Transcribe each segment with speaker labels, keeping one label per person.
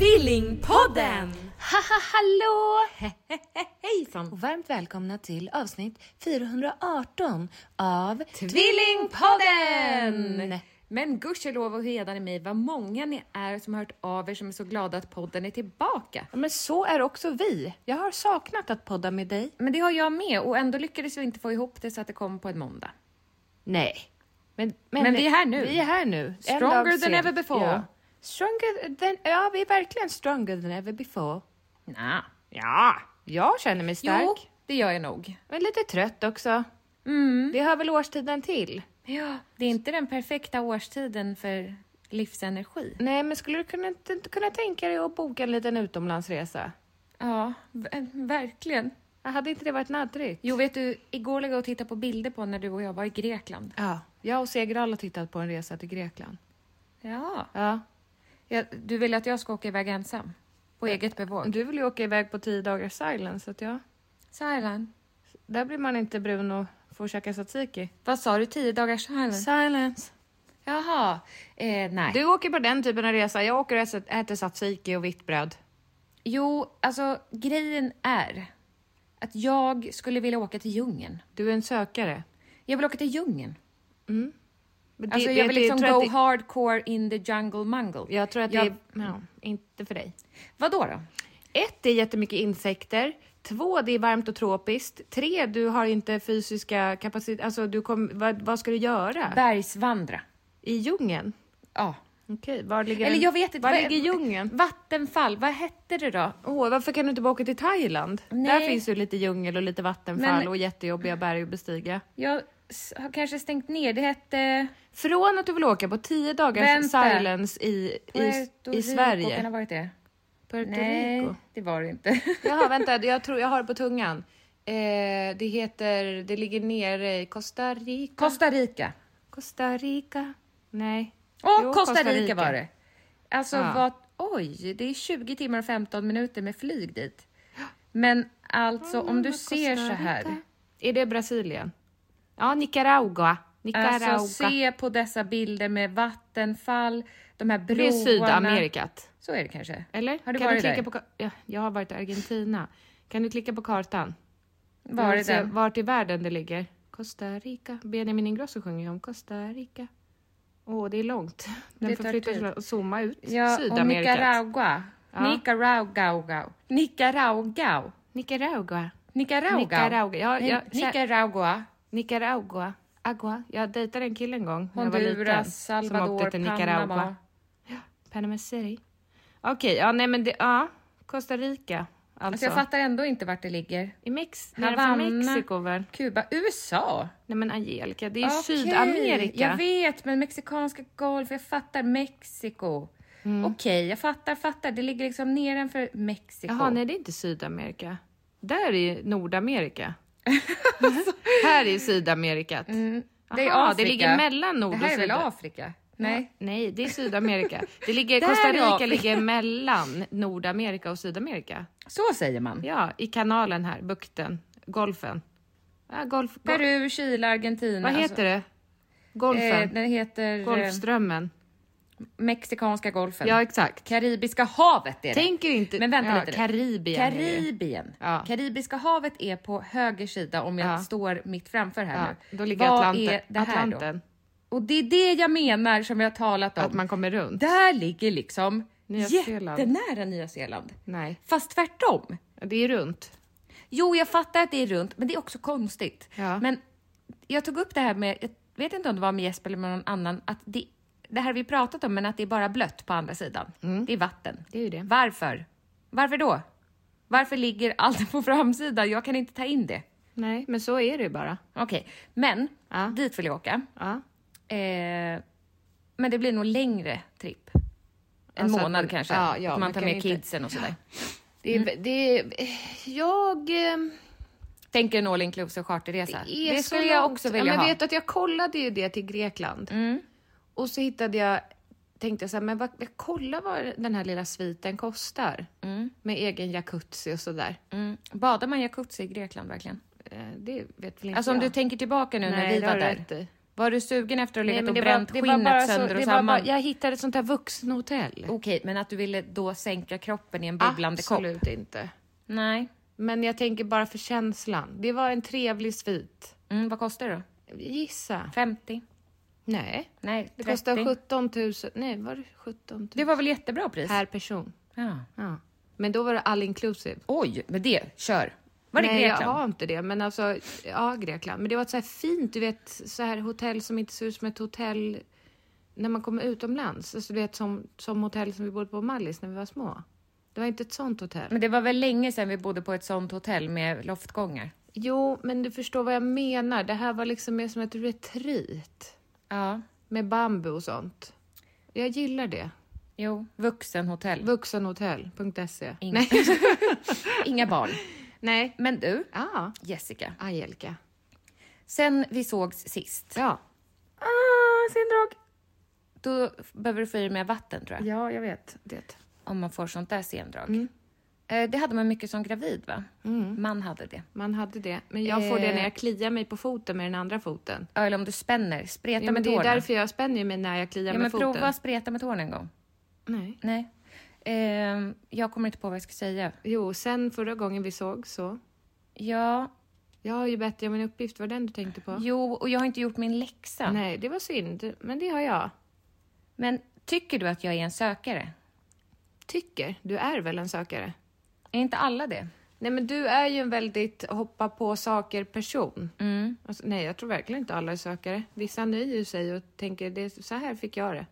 Speaker 1: Tvillingpodden!
Speaker 2: Haha, hallå!
Speaker 1: Hejsan!
Speaker 2: Och varmt välkomna till avsnitt 418 av
Speaker 1: Tvillingpodden! Men gudskelov och hedan i mig vad många ni är som har hört av er som är så glada att podden är tillbaka.
Speaker 2: Ja, men så är också vi. Jag har saknat att podda med dig.
Speaker 1: Men det har jag med och ändå lyckades vi inte få ihop det så att det kom på en måndag.
Speaker 2: Nej. Men,
Speaker 1: Men vi är här nu.
Speaker 2: Vi är här nu. En
Speaker 1: Stronger
Speaker 2: dag
Speaker 1: than
Speaker 2: sen.
Speaker 1: ever before.
Speaker 2: Ja. Stronger than... Ja, vi är verkligen stronger than ever before.
Speaker 1: Nja. Ja.
Speaker 2: Jag känner mig stark.
Speaker 1: Jo, det gör jag nog.
Speaker 2: Men lite trött också. Det hör väl årstiden till?
Speaker 1: Ja, det är inte den perfekta årstiden för livsenergi.
Speaker 2: Nej, men skulle du kunna, inte kunna tänka dig att boka en liten utomlandsresa?
Speaker 1: Ja, v- eh, verkligen.
Speaker 2: Ah, Hade inte det varit naddrigt?
Speaker 1: Jo, vet du, igår låg jag och tittade på bilder på när du och jag var i Grekland.
Speaker 2: Ja, jag och Segerdahl har tittat på en resa till Grekland.
Speaker 1: Ja.
Speaker 2: Ja.
Speaker 1: ja du vill att jag ska åka iväg ensam? På eget bevåg?
Speaker 2: Du vill ju åka iväg på tio dagars silence, så att ja.
Speaker 1: Silent.
Speaker 2: Där blir man inte brun och får käka tzatziki.
Speaker 1: Vad sa du? Tio dagars silent?
Speaker 2: Silence.
Speaker 1: Jaha. Eh, nej.
Speaker 2: Du åker på den typen av resa. Jag åker och äter- äter tzatziki och vitt bröd.
Speaker 1: Jo, alltså grejen är att jag skulle vilja åka till djungeln.
Speaker 2: Du är en sökare.
Speaker 1: Jag vill åka till djungeln.
Speaker 2: Men det-
Speaker 1: Alltså, jag
Speaker 2: vet
Speaker 1: vill
Speaker 2: du,
Speaker 1: liksom
Speaker 2: tror
Speaker 1: go
Speaker 2: att det-
Speaker 1: hardcore in the jungle mungle.
Speaker 2: Jag tror att
Speaker 1: Jag-
Speaker 2: det är... Ja, inte för dig.
Speaker 1: Vadå då?
Speaker 2: Ett, det är jättemycket insekter. Två, det är varmt och tropiskt. Tre, du har inte fysiska kapacitet. Alltså, du kom, vad, vad ska du göra?
Speaker 1: Bergsvandra.
Speaker 2: I djungeln?
Speaker 1: Ja.
Speaker 2: Okej, var ligger
Speaker 1: Eller
Speaker 2: den-
Speaker 1: jag vet inte.
Speaker 2: Var
Speaker 1: vad-
Speaker 2: ligger djungeln?
Speaker 1: Vattenfall. Vad hette det då?
Speaker 2: Åh, varför kan du inte bara åka till Thailand?
Speaker 1: Nej.
Speaker 2: Där finns ju lite djungel och lite vattenfall
Speaker 1: Men-
Speaker 2: och jättejobbiga berg att bestiga.
Speaker 1: Jag s- har kanske stängt ner. Det hette...
Speaker 2: Från att du vill åka på tio dagars
Speaker 1: Vänta.
Speaker 2: silence i, i,
Speaker 1: Puerto
Speaker 2: i
Speaker 1: Rico. Kan det ha
Speaker 2: Sverige.
Speaker 1: varit det?
Speaker 2: Puerto
Speaker 1: Nej,
Speaker 2: Rico.
Speaker 1: det var det inte.
Speaker 2: Jaha, vänta, jag tror jag har det på tungan. Eh, det heter, det ligger nere i Costa Rica.
Speaker 1: Costa Rica.
Speaker 2: Costa Rica? Nej.
Speaker 1: Åh,
Speaker 2: Jo,
Speaker 1: Costa, Rica. var det. Alltså,
Speaker 2: Ja.
Speaker 1: vad, oj, det är 20 timmar och 15 minuter med flyg dit. Men alltså, om du ser så här.
Speaker 2: Är det Brasilien? Ja, Nicaragua. Nicaragua.
Speaker 1: Alltså, se på dessa bilder med vattenfall, de här broarna.
Speaker 2: det är Sydamerika.
Speaker 1: Så är det kanske.
Speaker 2: Eller?
Speaker 1: Har du
Speaker 2: kan
Speaker 1: varit
Speaker 2: du klicka
Speaker 1: där?
Speaker 2: På, ka- ja, jag har varit i Argentina. Kan du klicka på kartan?
Speaker 1: Var
Speaker 2: Jag
Speaker 1: är
Speaker 2: vill se
Speaker 1: den?
Speaker 2: Vart i världen det ligger? Costa Rica. Benjamin Ingrosso sjunger ju om Costa Rica. Åh, det är långt. Den
Speaker 1: Det
Speaker 2: får
Speaker 1: tar
Speaker 2: flytta
Speaker 1: tid.
Speaker 2: sig och zooma ut.
Speaker 1: Ja, och
Speaker 2: Sydamerika.
Speaker 1: Nicaragua.
Speaker 2: Ja.
Speaker 1: Nicaragua. Nicaragua.
Speaker 2: Nicaragua.
Speaker 1: Nicaragua.
Speaker 2: Nicaragua. Ja, jag-
Speaker 1: Ni- Nicaragua.
Speaker 2: Nicaragua. Agua. Jag dejtade en kille en gång när jag var liten,
Speaker 1: Honduras,
Speaker 2: som
Speaker 1: Salvador,
Speaker 2: åkte till Nicaragua.
Speaker 1: Panama.
Speaker 2: Panama City. Okej, ja nej men det, ja. Costa Rica.
Speaker 1: Alltså,
Speaker 2: Alltså.
Speaker 1: jag fattar ändå inte vart det ligger.
Speaker 2: I Mex,
Speaker 1: Havanna.
Speaker 2: nedanför Mexiko väl?
Speaker 1: Kuba, USA.
Speaker 2: Nej men Angelica, det är ju
Speaker 1: Okej,
Speaker 2: Sydamerika.
Speaker 1: Jag vet, men mexikanska golf, jag fattar Mexiko.
Speaker 2: Mm.
Speaker 1: Okej, jag fattar, fattar. Det ligger liksom nedanför Mexiko.
Speaker 2: Jaha, nej det är inte Sydamerika. Där är ju Nordamerika. här är ju Sydamerika.
Speaker 1: Alltså. Mm, det är
Speaker 2: Aha,
Speaker 1: Afrika.
Speaker 2: det ligger mellan nord
Speaker 1: Det
Speaker 2: och
Speaker 1: här är väl
Speaker 2: syd.
Speaker 1: Afrika? Nej.
Speaker 2: Nej, det är Sydamerika. Det ligger,
Speaker 1: Där
Speaker 2: Costa
Speaker 1: är
Speaker 2: Rica
Speaker 1: Afrika.
Speaker 2: ligger mellan Nordamerika och Sydamerika.
Speaker 1: Så säger man.
Speaker 2: Ja, i kanalen här, bukten, golfen. Ja, golf, go-
Speaker 1: Peru, Chile, Argentina.
Speaker 2: vad heter det? Golfen?
Speaker 1: alltså. Eh, den heter eh,
Speaker 2: Golfströmmen?
Speaker 1: Mexikanska golfen.
Speaker 2: Ja, exakt.
Speaker 1: Karibiska havet är det.
Speaker 2: Tänker inte...
Speaker 1: Men vänta
Speaker 2: ja,
Speaker 1: lite nu.
Speaker 2: Karibien. är det ju.
Speaker 1: Karibien.
Speaker 2: Ja.
Speaker 1: Karibiska havet är på höger sida om jag
Speaker 2: Ja.
Speaker 1: står mitt framför här
Speaker 2: Ja,
Speaker 1: nu.
Speaker 2: då ligger
Speaker 1: Vad
Speaker 2: Atlanten.
Speaker 1: är det här
Speaker 2: Atlanten.
Speaker 1: då? Och det är det jag menar som vi har talat om.
Speaker 2: Att man kommer runt.
Speaker 1: Där ligger liksom
Speaker 2: Nya Zeeland.
Speaker 1: jättenära Nya Zeeland.
Speaker 2: Nej,
Speaker 1: Fast tvärtom.
Speaker 2: det är runt.
Speaker 1: Jo, jag fattar att det är runt, men det är också konstigt.
Speaker 2: Ja.
Speaker 1: Men jag tog upp det här med, jag vet inte om det var med Jesper eller med någon annan, att det, det här har vi pratat
Speaker 2: Mm.
Speaker 1: om, men att det är bara blött på andra sidan. Det är vatten.
Speaker 2: Det är ju det.
Speaker 1: Varför? Varför då? Varför ligger allt på framsidan? Jag kan inte ta in det.
Speaker 2: Nej, men så är det ju bara.
Speaker 1: Okej, men
Speaker 2: Ja.
Speaker 1: dit vill jag åka.
Speaker 2: Ja.
Speaker 1: Eh, men det blir nog längre tripp. En
Speaker 2: Alltså att
Speaker 1: månad
Speaker 2: man-
Speaker 1: kanske.
Speaker 2: ja, ja,
Speaker 1: att man
Speaker 2: man
Speaker 1: tar
Speaker 2: kan
Speaker 1: med
Speaker 2: inte-
Speaker 1: kidsen och sådär.
Speaker 2: Det, är-
Speaker 1: Mm.
Speaker 2: det, är- jag... ehm,
Speaker 1: Tänker en all inclusive charterresa.
Speaker 2: är så
Speaker 1: det skulle jag
Speaker 2: långt.
Speaker 1: också
Speaker 2: ja,
Speaker 1: vilja
Speaker 2: men
Speaker 1: ha. Mm.
Speaker 2: Vet att jag kollade ju det till Grekland. Och så hittade jag, tänkte jag så här, men vad, jag kollar vad den här lilla sviten kostar. Med egen jacuzzi och sådär.
Speaker 1: Mm. Badar man jacuzzi i Grekland verkligen?
Speaker 2: Eh, Det vet väl inte
Speaker 1: Alltså om
Speaker 2: jag.
Speaker 1: du tänker tillbaka nu när
Speaker 2: Nej,
Speaker 1: vi
Speaker 2: det
Speaker 1: var
Speaker 2: har du
Speaker 1: där.
Speaker 2: rätt i.
Speaker 1: Var du sugen efter att ha legat och
Speaker 2: det
Speaker 1: bränt
Speaker 2: det
Speaker 1: skinnet
Speaker 2: bara så-
Speaker 1: sönder och
Speaker 2: det var
Speaker 1: samman?
Speaker 2: bara- Jag hittade ett sånt här vuxenhotell.
Speaker 1: Okej, men att du ville då sänka kroppen i en bubblande kopp?
Speaker 2: Absolut inte.
Speaker 1: Nej.
Speaker 2: Men jag tänker bara för känslan. Det var en trevlig svit.
Speaker 1: Mm, vad kostar det då?
Speaker 2: Gissa.
Speaker 1: 50?
Speaker 2: Nej.
Speaker 1: Nej, 30?
Speaker 2: Det kostar 17 000. Nej, var det 17 000?
Speaker 1: Det var väl jättebra pris?
Speaker 2: Per person.
Speaker 1: Ja.
Speaker 2: Ja. Men då var det all inclusive.
Speaker 1: Oj, men det, kör. Var det
Speaker 2: Nej,
Speaker 1: Grekland?
Speaker 2: jag har inte det. Men alltså, ja, Grekland. Men det var ett så här fint, du vet, så här hotell som inte ser ut som ett hotell när man kommer utomlands. Alltså, du vet, som, som hotell som vi bodde på Mallis när vi var små. Det var inte ett sånt hotell.
Speaker 1: Men det var väl länge sedan vi bodde på ett sånt hotell med loftgångar?
Speaker 2: Jo, men du förstår vad jag menar. Det här var liksom mer som ett retreat
Speaker 1: Ja.
Speaker 2: med bambu och sånt. Jag gillar det.
Speaker 1: Jo, vuxenhotell.
Speaker 2: Vuxenhotell.se.
Speaker 1: Inga-
Speaker 2: Nej.
Speaker 1: Inga barn.
Speaker 2: Nej.
Speaker 1: Men du,
Speaker 2: Ja,
Speaker 1: Jessica.
Speaker 2: Ah, Angelica.
Speaker 1: Sen vi sågs sist.
Speaker 2: Ja.
Speaker 1: Ah, sindrag. Då behöver du få i dig mer vatten tror jag.
Speaker 2: Ja, Mm. jag vet det.
Speaker 1: Om man får sånt där sendrag. Eh, det hade man mycket som gravid va?
Speaker 2: Mm.
Speaker 1: Man hade det.
Speaker 2: Man hade det. Men jag får det
Speaker 1: Eh.
Speaker 2: när jag kliar mig på foten med den andra foten.
Speaker 1: Ja, Eller om du spänner, spreta
Speaker 2: Ja, men
Speaker 1: med
Speaker 2: det är
Speaker 1: tårna.
Speaker 2: därför jag spänner ju mig när jag kliar
Speaker 1: ja,
Speaker 2: med
Speaker 1: men
Speaker 2: foten.
Speaker 1: prova att spreta med tårna en gång.
Speaker 2: Nej.
Speaker 1: Nej. Eh, jag kommer inte på vad jag ska säga.
Speaker 2: Jo, sen förra gången vi såg så.
Speaker 1: Ja,
Speaker 2: Jag har ju bättre min uppgift. Var det den du tänkte på?
Speaker 1: jo, och jag har inte gjort min läxa.
Speaker 2: Nej, det var synd. Men det har jag.
Speaker 1: Men tycker du att jag är en sökare?
Speaker 2: Tycker. Du är väl en sökare?
Speaker 1: Är inte alla det?
Speaker 2: Nej, men du är ju en väldigt hoppa på saker person.
Speaker 1: Mm.
Speaker 2: Alltså, nej, jag tror verkligen inte alla är sökare. Vissa nöjer ju sig och tänker det är så här fick jag det.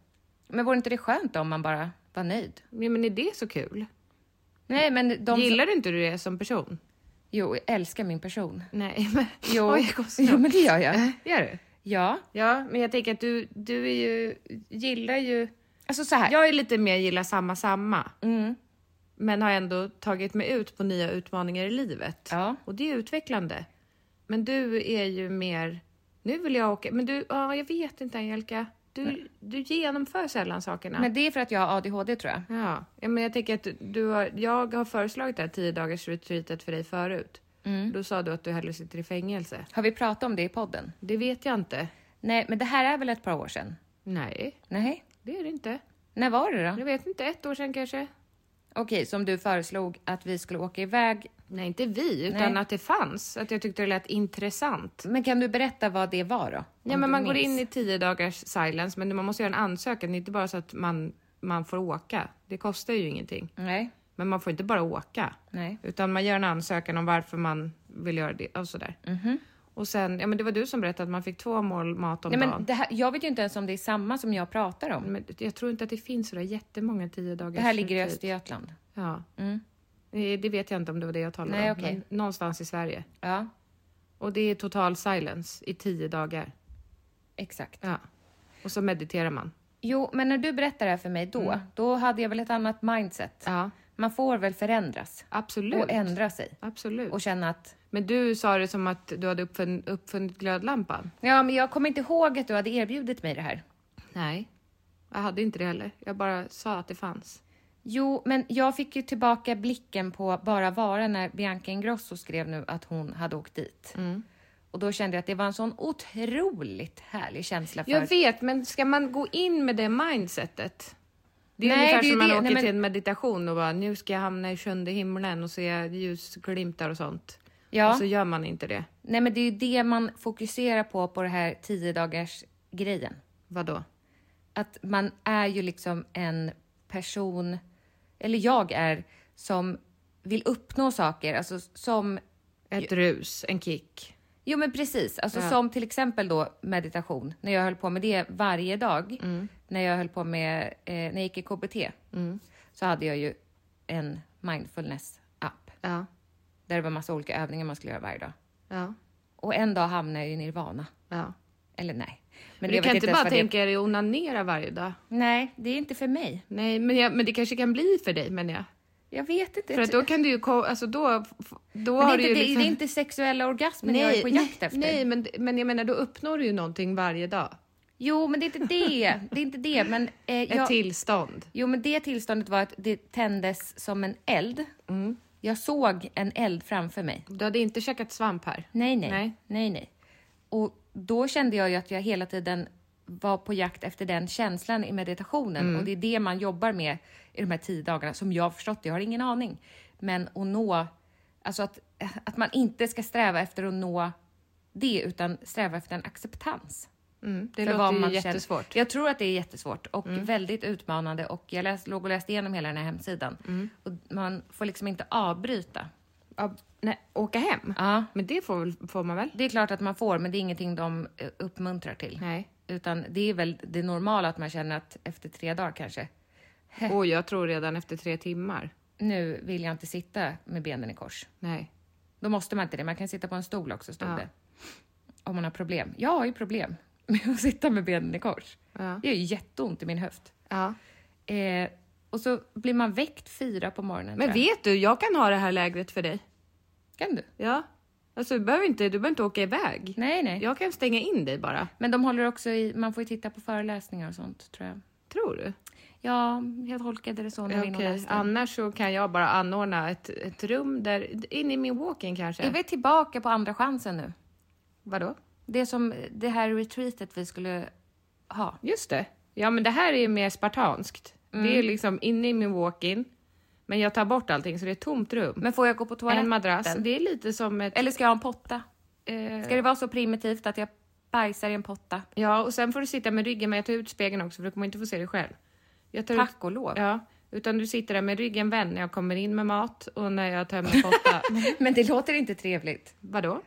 Speaker 1: Men vore inte det skönt om man bara var nöjd?
Speaker 2: Ja, men är det så kul?
Speaker 1: Nej, men de...
Speaker 2: Gillar inte du det som person?
Speaker 1: Jo, jag älskar min person.
Speaker 2: Nej, men...
Speaker 1: Jo,
Speaker 2: Oj, jag Äh. kom så-
Speaker 1: jo men det gör jag.
Speaker 2: Gör du?
Speaker 1: Ja,
Speaker 2: Ja, men jag tänker att du, du är ju, gillar ju...
Speaker 1: alltså så här. Mm.
Speaker 2: Jag är lite mer gillar samma samma. Men har ändå tagit mig ut på nya utmaningar i livet.
Speaker 1: Ja.
Speaker 2: Och det är utvecklande. Men du är ju mer... Nu vill jag åka... Men du, ja, jag vet inte Angelica. Du, du genomför sällan sakerna.
Speaker 1: Men det är för att jag har ADHD tror jag.
Speaker 2: Ja. ja, men jag tänker att du- du har, jag har föreslagit det här tio dagars retreatet för dig förut.
Speaker 1: Mm.
Speaker 2: Då sa du att du hellre sitter i fängelse.
Speaker 1: Har vi pratat om det i podden?
Speaker 2: Det vet jag inte.
Speaker 1: Nej, men det här är väl ett par år sedan?
Speaker 2: Nej,
Speaker 1: Nej.
Speaker 2: det är det inte.
Speaker 1: När var det då?
Speaker 2: Jag vet inte, ett år sedan kanske?
Speaker 1: Okej, som du föreslog att vi skulle åka iväg.
Speaker 2: Nej, inte vi, utan
Speaker 1: Nej.
Speaker 2: att det fanns. Att jag tyckte det lät intressant.
Speaker 1: Men kan du berätta vad det var då? Om
Speaker 2: Ja, men
Speaker 1: du
Speaker 2: man går
Speaker 1: minns.
Speaker 2: in i tio dagars silence, men man måste göra en ansökan. Det är inte bara så att man, man får åka. Det kostar ju ingenting.
Speaker 1: Nej,
Speaker 2: Men man får inte bara åka.
Speaker 1: nej.
Speaker 2: Utan man gör en ansökan om varför man vill göra det och sådär. Och sen, ja men det var du som berättade att man fick två mål mat om
Speaker 1: Nej, men
Speaker 2: dagen.
Speaker 1: det här, jag vet ju inte ens om det är samma som jag pratar om.
Speaker 2: Men jag tror inte att det finns sådär jättemånga tio dagars
Speaker 1: Det här ligger i
Speaker 2: retreat.
Speaker 1: Östergötland.
Speaker 2: Ja. Eh, Det vet jag inte om det var det jag talade
Speaker 1: Mm. Nej,
Speaker 2: om.
Speaker 1: okej.
Speaker 2: men Någonstans i Sverige.
Speaker 1: Ja,
Speaker 2: Och det är total silence i tio dagar.
Speaker 1: exakt.
Speaker 2: Ja. Och så mediterar man.
Speaker 1: Jo, men när du berättade det här för mig då, då hade jag väl ett annat mindset.
Speaker 2: Mm. Ja,
Speaker 1: Man får väl förändras
Speaker 2: absolut.
Speaker 1: och ändra sig
Speaker 2: Absolut.
Speaker 1: och känna att
Speaker 2: Men du sa det som att du hade uppfun- uppfunnit glödlampan.
Speaker 1: ja, men jag kommer inte ihåg att du hade erbjudit mig det här.
Speaker 2: Nej. Jag hade inte det heller. Jag bara sa att det fanns.
Speaker 1: Jo, men jag fick ju tillbaka blicken på bara vara när Bianca Ingrosso skrev nu att hon hade åkt dit.
Speaker 2: Mm.
Speaker 1: Och då kände jag att det var en sån otroligt härlig känsla för...
Speaker 2: Jag vet, men ska man gå in med det mindsetet? Det är
Speaker 1: Nej,
Speaker 2: ungefär
Speaker 1: det är
Speaker 2: som man
Speaker 1: det.
Speaker 2: åker
Speaker 1: Nej, men-
Speaker 2: till en meditation och bara nu ska jag hamna i sjunde himlen och se ljusglimtar och sånt.
Speaker 1: Ja.
Speaker 2: Och så gör man inte det.
Speaker 1: Nej, men det är ju det man fokuserar på, på det här 10 dagars grejen.
Speaker 2: Vadå?
Speaker 1: Att man är ju liksom en person, eller jag är, som vill uppnå saker. Alltså som,
Speaker 2: Ett rus, en kick.
Speaker 1: jo men precis, alltså som till exempel då meditation. När jag höll på med det varje dag,
Speaker 2: Mm.
Speaker 1: när jag höll på med, eh, när jag gick i KBT, så hade jag ju en mindfulness-app.
Speaker 2: Ja.
Speaker 1: Där det var massa olika övningar man skulle göra varje dag.
Speaker 2: Ja.
Speaker 1: Och en dag hamnade jag i nirvana.
Speaker 2: ja.
Speaker 1: Eller nej.
Speaker 2: Men
Speaker 1: jag
Speaker 2: du
Speaker 1: vet
Speaker 2: kan inte
Speaker 1: ens
Speaker 2: bara
Speaker 1: vad det-
Speaker 2: tänka dig onanera varje dag.
Speaker 1: Nej, det är inte för mig.
Speaker 2: Nej, men, jag, men det kanske kan bli för dig men jag.
Speaker 1: Jag vet inte. Typ.
Speaker 2: För att då kan du ju, ko- alltså då, då
Speaker 1: men det, är
Speaker 2: har
Speaker 1: inte,
Speaker 2: du ju
Speaker 1: det,
Speaker 2: liksom...
Speaker 1: det är inte sexuella orgasmer jag är på jakt efter.
Speaker 2: Nej, men, men jag menar då uppnår du ju någonting varje dag.
Speaker 1: Jo, men det är inte det. Det är inte det. Men, eh,
Speaker 2: Ett
Speaker 1: jag,
Speaker 2: tillstånd.
Speaker 1: Jo, men det tillståndet var att det tändes som en eld.
Speaker 2: Mm.
Speaker 1: Jag såg en eld framför mig.
Speaker 2: Du hade inte käkat svamp här.
Speaker 1: Nej, nej,
Speaker 2: Nej.
Speaker 1: nej, nej, Och då kände jag ju att jag hela tiden var på jakt efter den känslan i meditationen
Speaker 2: Mm.
Speaker 1: och det är det man jobbar med i de här tio dagarna som jag har förstått det. Jag har ingen aning. Men att nå, alltså att, att man inte ska sträva efter att nå det utan sträva efter en acceptans.
Speaker 2: Mm, det
Speaker 1: för
Speaker 2: låter
Speaker 1: vad
Speaker 2: ju
Speaker 1: man
Speaker 2: jättesvårt. Mm.
Speaker 1: Känner. Jag tror att det är jättesvårt och väldigt utmanande och jag läs, låg och läste igenom hela den här hemsidan
Speaker 2: Mm.
Speaker 1: och man får liksom inte avbryta.
Speaker 2: Ja, nej, åka hem?
Speaker 1: Ja.
Speaker 2: Men det får, väl- får man väl?
Speaker 1: Det är klart att man får, men det är ingenting de eh, uppmuntrar till.
Speaker 2: Nej.
Speaker 1: Utan det är väl det normala att man känner att efter tre dagar kanske,
Speaker 2: Och jag tror redan efter tre timmar.
Speaker 1: nu vill jag inte sitta med benen i kors.
Speaker 2: Nej.
Speaker 1: Då måste man inte det. Man kan sitta på en stol också, stod det. Om man har problem. Jag har ju problem med att sitta med benen i kors.
Speaker 2: Ja.
Speaker 1: Det gör ju jätteont i min höft.
Speaker 2: Ja.
Speaker 1: Eh, och så blir man väckt fyra på morgonen.
Speaker 2: Men
Speaker 1: tror jag.
Speaker 2: vet du, jag kan ha det här lägret för dig.
Speaker 1: Kan du?
Speaker 2: Ja. Alltså du behöver inte, du behöver inte åka iväg.
Speaker 1: Nej, nej.
Speaker 2: Jag kan stänga in dig bara.
Speaker 1: Men de håller också i... Man får ju titta på föreläsningar och sånt, tror jag.
Speaker 2: Tror du?
Speaker 1: Ja, jag tolkade det så när vi nog
Speaker 2: Okej,
Speaker 1: läste.
Speaker 2: annars så kan jag bara anordna ett, ett rum där, in i min walk-in kanske.
Speaker 1: Är vi tillbaka på andra chansen nu?
Speaker 2: Vadå?
Speaker 1: Det som det här retreatet vi skulle ha.
Speaker 2: Just det. Ja, men det här är ju mer spartanskt.
Speaker 1: Mm.
Speaker 2: Det är liksom inne i min walk-in, men jag tar bort allting så det är ett tomt rum.
Speaker 1: Men får jag gå på toaletten?
Speaker 2: en madrass. Det är lite som ett...
Speaker 1: Eller ska jag ha en potta?
Speaker 2: eh,
Speaker 1: Ska det vara så primitivt att jag bajsar i en potta?
Speaker 2: ja, och sen får du sitta med ryggen, men jag tar ut spegeln också för du kommer inte få se dig själv. Jag tar
Speaker 1: Tack
Speaker 2: ut,
Speaker 1: och lov.
Speaker 2: Ja, utan du sitter där med ryggen vänd när jag kommer in med mat och när jag tömmer potta.
Speaker 1: Men det låter inte trevligt.
Speaker 2: Vadå?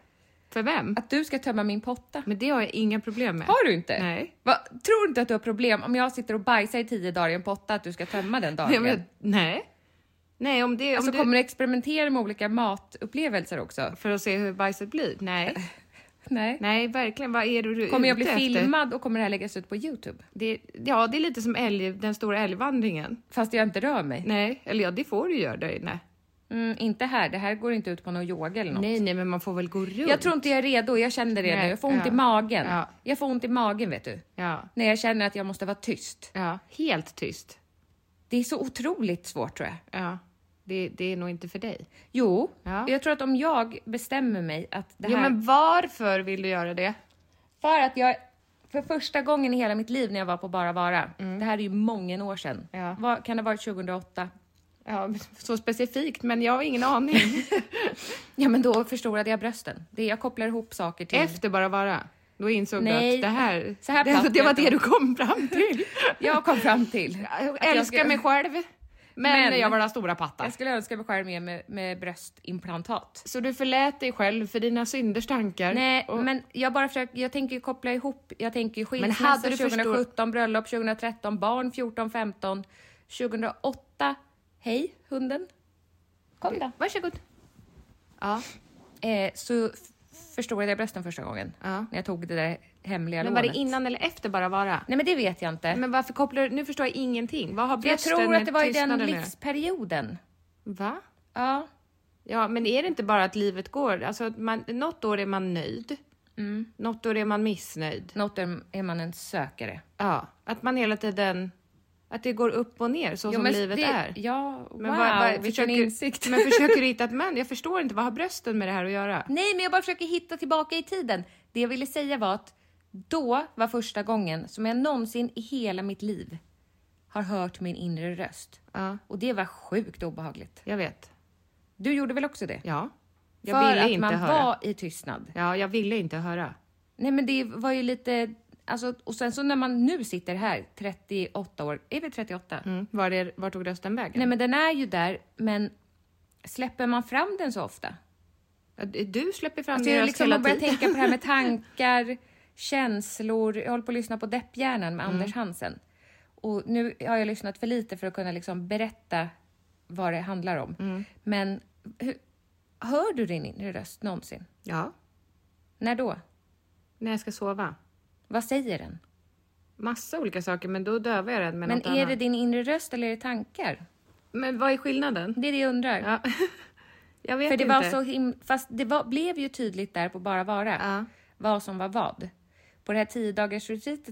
Speaker 2: För vem?
Speaker 1: Att du ska tömma min potta.
Speaker 2: Men det har jag inga problem med.
Speaker 1: Har du inte?
Speaker 2: Nej.
Speaker 1: Va? Tror du inte att du har problem om jag sitter och bajsar i tio dagar i en potta att du ska tömma den dagen?
Speaker 2: Nej, men- nej. Nej, om det... Om
Speaker 1: alltså,
Speaker 2: du,
Speaker 1: Kommer du experimentera med olika matupplevelser också?
Speaker 2: För att se hur bajset blir? Nej.
Speaker 1: Nej.
Speaker 2: Nej, verkligen. Vad är det du är
Speaker 1: Kommer jag bli
Speaker 2: ute efter?
Speaker 1: filmad och kommer det här läggas ut på Youtube?
Speaker 2: Det, ja, det är lite som älg, den stora älgvandringen.
Speaker 1: Fast jag inte rör mig?
Speaker 2: Nej, eller ja, det får du göra där inne.
Speaker 1: Mm, inte här. Det här går inte ut på någon yoga eller något.
Speaker 2: Nej, nej, men man får väl gå runt.
Speaker 1: Jag tror inte jag är redo, jag känner det
Speaker 2: Nej,
Speaker 1: nu. Jag får ont
Speaker 2: ja.
Speaker 1: i magen.
Speaker 2: Ja.
Speaker 1: Jag får ont i magen vet du.
Speaker 2: Ja,
Speaker 1: När jag känner att jag måste vara tyst.
Speaker 2: ja, helt tyst.
Speaker 1: Det är så otroligt svårt tror jag.
Speaker 2: Ja, det, det är nog inte för dig.
Speaker 1: Jo,
Speaker 2: Ja.
Speaker 1: jag tror att om jag bestämmer mig att det
Speaker 2: Jo,
Speaker 1: här...
Speaker 2: men varför vill du göra det?
Speaker 1: För att jag för första gången i hela mitt liv när jag var på Bara Vara. Det här är ju många år sedan.
Speaker 2: Mm. Ja.
Speaker 1: Vad, kan det ha varit 2008?
Speaker 2: Ja, så specifikt, men jag har ingen aning.
Speaker 1: Ja, men då förstorade jag brösten. Det, jag kopplar ihop saker till...
Speaker 2: Efter bara vara. Då insåg du
Speaker 1: Mm. Nej.
Speaker 2: att det här,
Speaker 1: Så här
Speaker 2: det,
Speaker 1: platt
Speaker 2: det var
Speaker 1: vet
Speaker 2: det
Speaker 1: jag.
Speaker 2: du kom fram till.
Speaker 1: Jag kom fram till att
Speaker 2: Jag
Speaker 1: jag
Speaker 2: älskar
Speaker 1: ska-
Speaker 2: mig själv, men,
Speaker 1: Men-
Speaker 2: jag vill ha stora pattar.
Speaker 1: Jag skulle önska mig själv mer med, med bröstimplantat.
Speaker 2: Så du förlät dig själv för dina synders tankar?
Speaker 1: Nej,
Speaker 2: och-
Speaker 1: men jag bara försöker, jag tänker ju koppla ihop, jag tänker ju
Speaker 2: hade
Speaker 1: skilsmässa
Speaker 2: du
Speaker 1: 2017, bröllop 2013, barn 14, 15, 2008, hej hunden. Kom då.
Speaker 2: Varsågod. Ja.
Speaker 1: Eh, så f- förstorade jag brösten första gången
Speaker 2: Ja.
Speaker 1: när jag tog det där hemliga
Speaker 2: Men var
Speaker 1: lånet.
Speaker 2: det innan eller efter bara vara?
Speaker 1: Nej men det vet jag inte.
Speaker 2: Men varför kopplar du? Nu förstår jag ingenting. Vad har
Speaker 1: jag
Speaker 2: brösten
Speaker 1: tror att det var i den
Speaker 2: tystnaden att göra?
Speaker 1: livsperioden.
Speaker 2: Va?
Speaker 1: Ja.
Speaker 2: Ja, men är det inte bara att livet går? Alltså, att man, något år är man nöjd.
Speaker 1: Mm.
Speaker 2: Något år är man missnöjd.
Speaker 1: Något är, är man en sökare.
Speaker 2: Ja, att man hela tiden... Att det går upp och ner så som
Speaker 1: men
Speaker 2: livet
Speaker 1: det,
Speaker 2: är.
Speaker 1: Ja,
Speaker 2: Men
Speaker 1: wow,
Speaker 2: vad- vad-
Speaker 1: vilken
Speaker 2: försöker-
Speaker 1: insikt.
Speaker 2: Men försöker du hitta ett mönster? Jag förstår inte. Vad har brösten med det här att göra?
Speaker 1: Nej, men jag bara försöker hitta tillbaka i tiden. Det jag ville säga var att då var första gången som jag någonsin i hela mitt liv har hört min inre röst.
Speaker 2: Ja,
Speaker 1: Och det var sjukt obehagligt.
Speaker 2: jag vet.
Speaker 1: Du gjorde väl också det?
Speaker 2: Ja. Jag
Speaker 1: För
Speaker 2: ville
Speaker 1: att
Speaker 2: inte
Speaker 1: man
Speaker 2: höra.
Speaker 1: var i tystnad.
Speaker 2: Ja, jag ville inte höra.
Speaker 1: Nej, men det var ju lite... Alltså, och sen så när man nu sitter här, 38 år, är vi 38?
Speaker 2: Mm. Var, det, var tog rösten vägen?
Speaker 1: Nej, men den är ju där, men släpper man fram den så ofta?
Speaker 2: Ja, d- Du släpper fram
Speaker 1: Alltså
Speaker 2: din
Speaker 1: jag
Speaker 2: röst
Speaker 1: liksom
Speaker 2: hela
Speaker 1: har börjat
Speaker 2: tiden.
Speaker 1: tänka på det här med tankar, känslor. Jag håller på att lyssna på Depphjärnan
Speaker 2: Mm.
Speaker 1: med Anders Hansen. Och
Speaker 2: Mm.
Speaker 1: nu har jag lyssnat för lite för att kunna liksom berätta vad det handlar om. Men Hur, hör du din inre röst någonsin?
Speaker 2: Ja.
Speaker 1: När då?
Speaker 2: När jag ska sova.
Speaker 1: Vad säger den?
Speaker 2: Massa olika saker, men då dövar jag den med
Speaker 1: Men
Speaker 2: något
Speaker 1: är det
Speaker 2: annat.
Speaker 1: din inre röst eller är det tankar?
Speaker 2: Men vad är skillnaden?
Speaker 1: Det är det jag undrar.
Speaker 2: Ja. jag vet
Speaker 1: För det
Speaker 2: inte.
Speaker 1: var så him- Fast det var, blev ju tydligt där på bara vara
Speaker 2: Ja.
Speaker 1: vad som var vad. På det här 10 dagars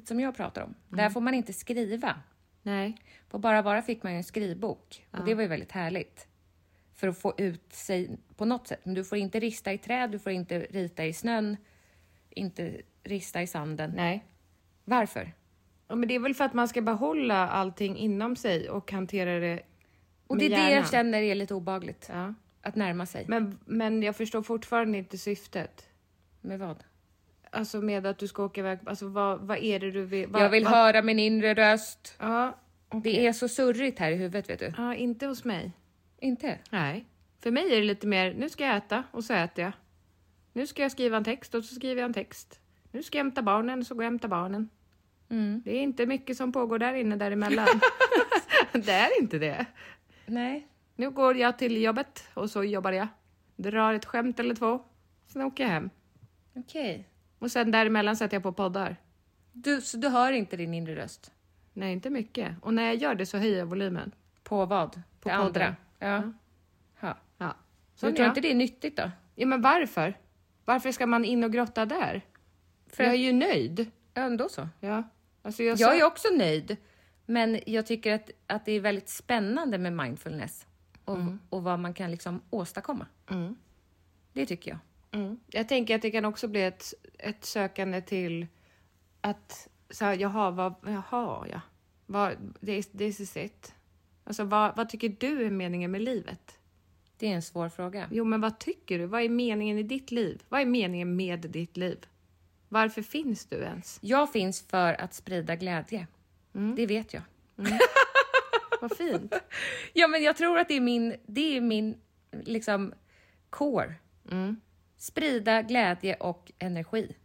Speaker 1: som jag pratar om,
Speaker 2: Mm.
Speaker 1: där får man inte skriva.
Speaker 2: Nej.
Speaker 1: På Bara Vara fick man ju en skrivbok och det var ju väldigt härligt. För att få ut sig på något sätt. Men du får inte rista i träd, du får inte rita i snön, inte rista i sanden.
Speaker 2: Nej.
Speaker 1: Varför?
Speaker 2: Ja, men det är väl för att man ska behålla allting inom sig och hantera det
Speaker 1: Och
Speaker 2: med
Speaker 1: det är det jag
Speaker 2: hjärnan.
Speaker 1: känner är lite obagligt.
Speaker 2: Ja.
Speaker 1: Att närma sig.
Speaker 2: Men, men jag förstår fortfarande inte syftet.
Speaker 1: Med vad?
Speaker 2: Alltså med att du ska åka iväg. Alltså vad, vad är det du vill? Vad,
Speaker 1: Jag vill
Speaker 2: vad,
Speaker 1: höra min inre röst.
Speaker 2: Ja,
Speaker 1: Det är så surrigt här i huvudet, vet du.
Speaker 2: ja, inte hos mig.
Speaker 1: Inte?
Speaker 2: Nej. För mig är det lite mer, nu ska jag äta och så äter jag. Nu ska jag skriva en text och så skriver jag en text. Nu ska jag hämta barnen så går jag och hämtar barnen. Det är inte mycket som pågår där inne däremellan. det är inte det.
Speaker 1: Nej.
Speaker 2: Nu går jag till jobbet och så jobbar jag. Drar ett skämt eller två. Sen åker jag hem.
Speaker 1: Okej.
Speaker 2: Och sen däremellan sätter jag på poddar.
Speaker 1: Du, så du hör inte din inre röst?
Speaker 2: Nej, inte mycket. Och när jag gör det så höjer jag volymen.
Speaker 1: På vad? På
Speaker 2: podden.
Speaker 1: andra? Ja. ja.
Speaker 2: Ja.
Speaker 1: Så
Speaker 2: Sån
Speaker 1: du tror
Speaker 2: är jag.
Speaker 1: inte det är nyttigt då?
Speaker 2: Ja, men varför? Varför ska man in och grotta där? För jag är ju nöjd.
Speaker 1: Ändå så.
Speaker 2: Ja. Alltså jag,
Speaker 1: Jag
Speaker 2: sa-
Speaker 1: är också nöjd, men jag tycker att, att det är väldigt spännande med mindfulness och, och vad man kan liksom åstadkomma. Det tycker jag.
Speaker 2: Mm. jag tänker att det kan också bli ett, ett sökande till att så här, jaha, vad, jaha, ja. Vad, this, this is it. Alltså, vad, vad tycker du är meningen med livet?
Speaker 1: Det är en svår fråga.
Speaker 2: Jo, men vad tycker du? Vad är meningen i ditt liv? Vad är meningen med ditt liv? Varför finns du ens?
Speaker 1: Jag finns för att sprida glädje. Det vet jag.
Speaker 2: Vad fint.
Speaker 1: Ja, men jag tror att det är min, det är min liksom core. Sprida glädje och energi.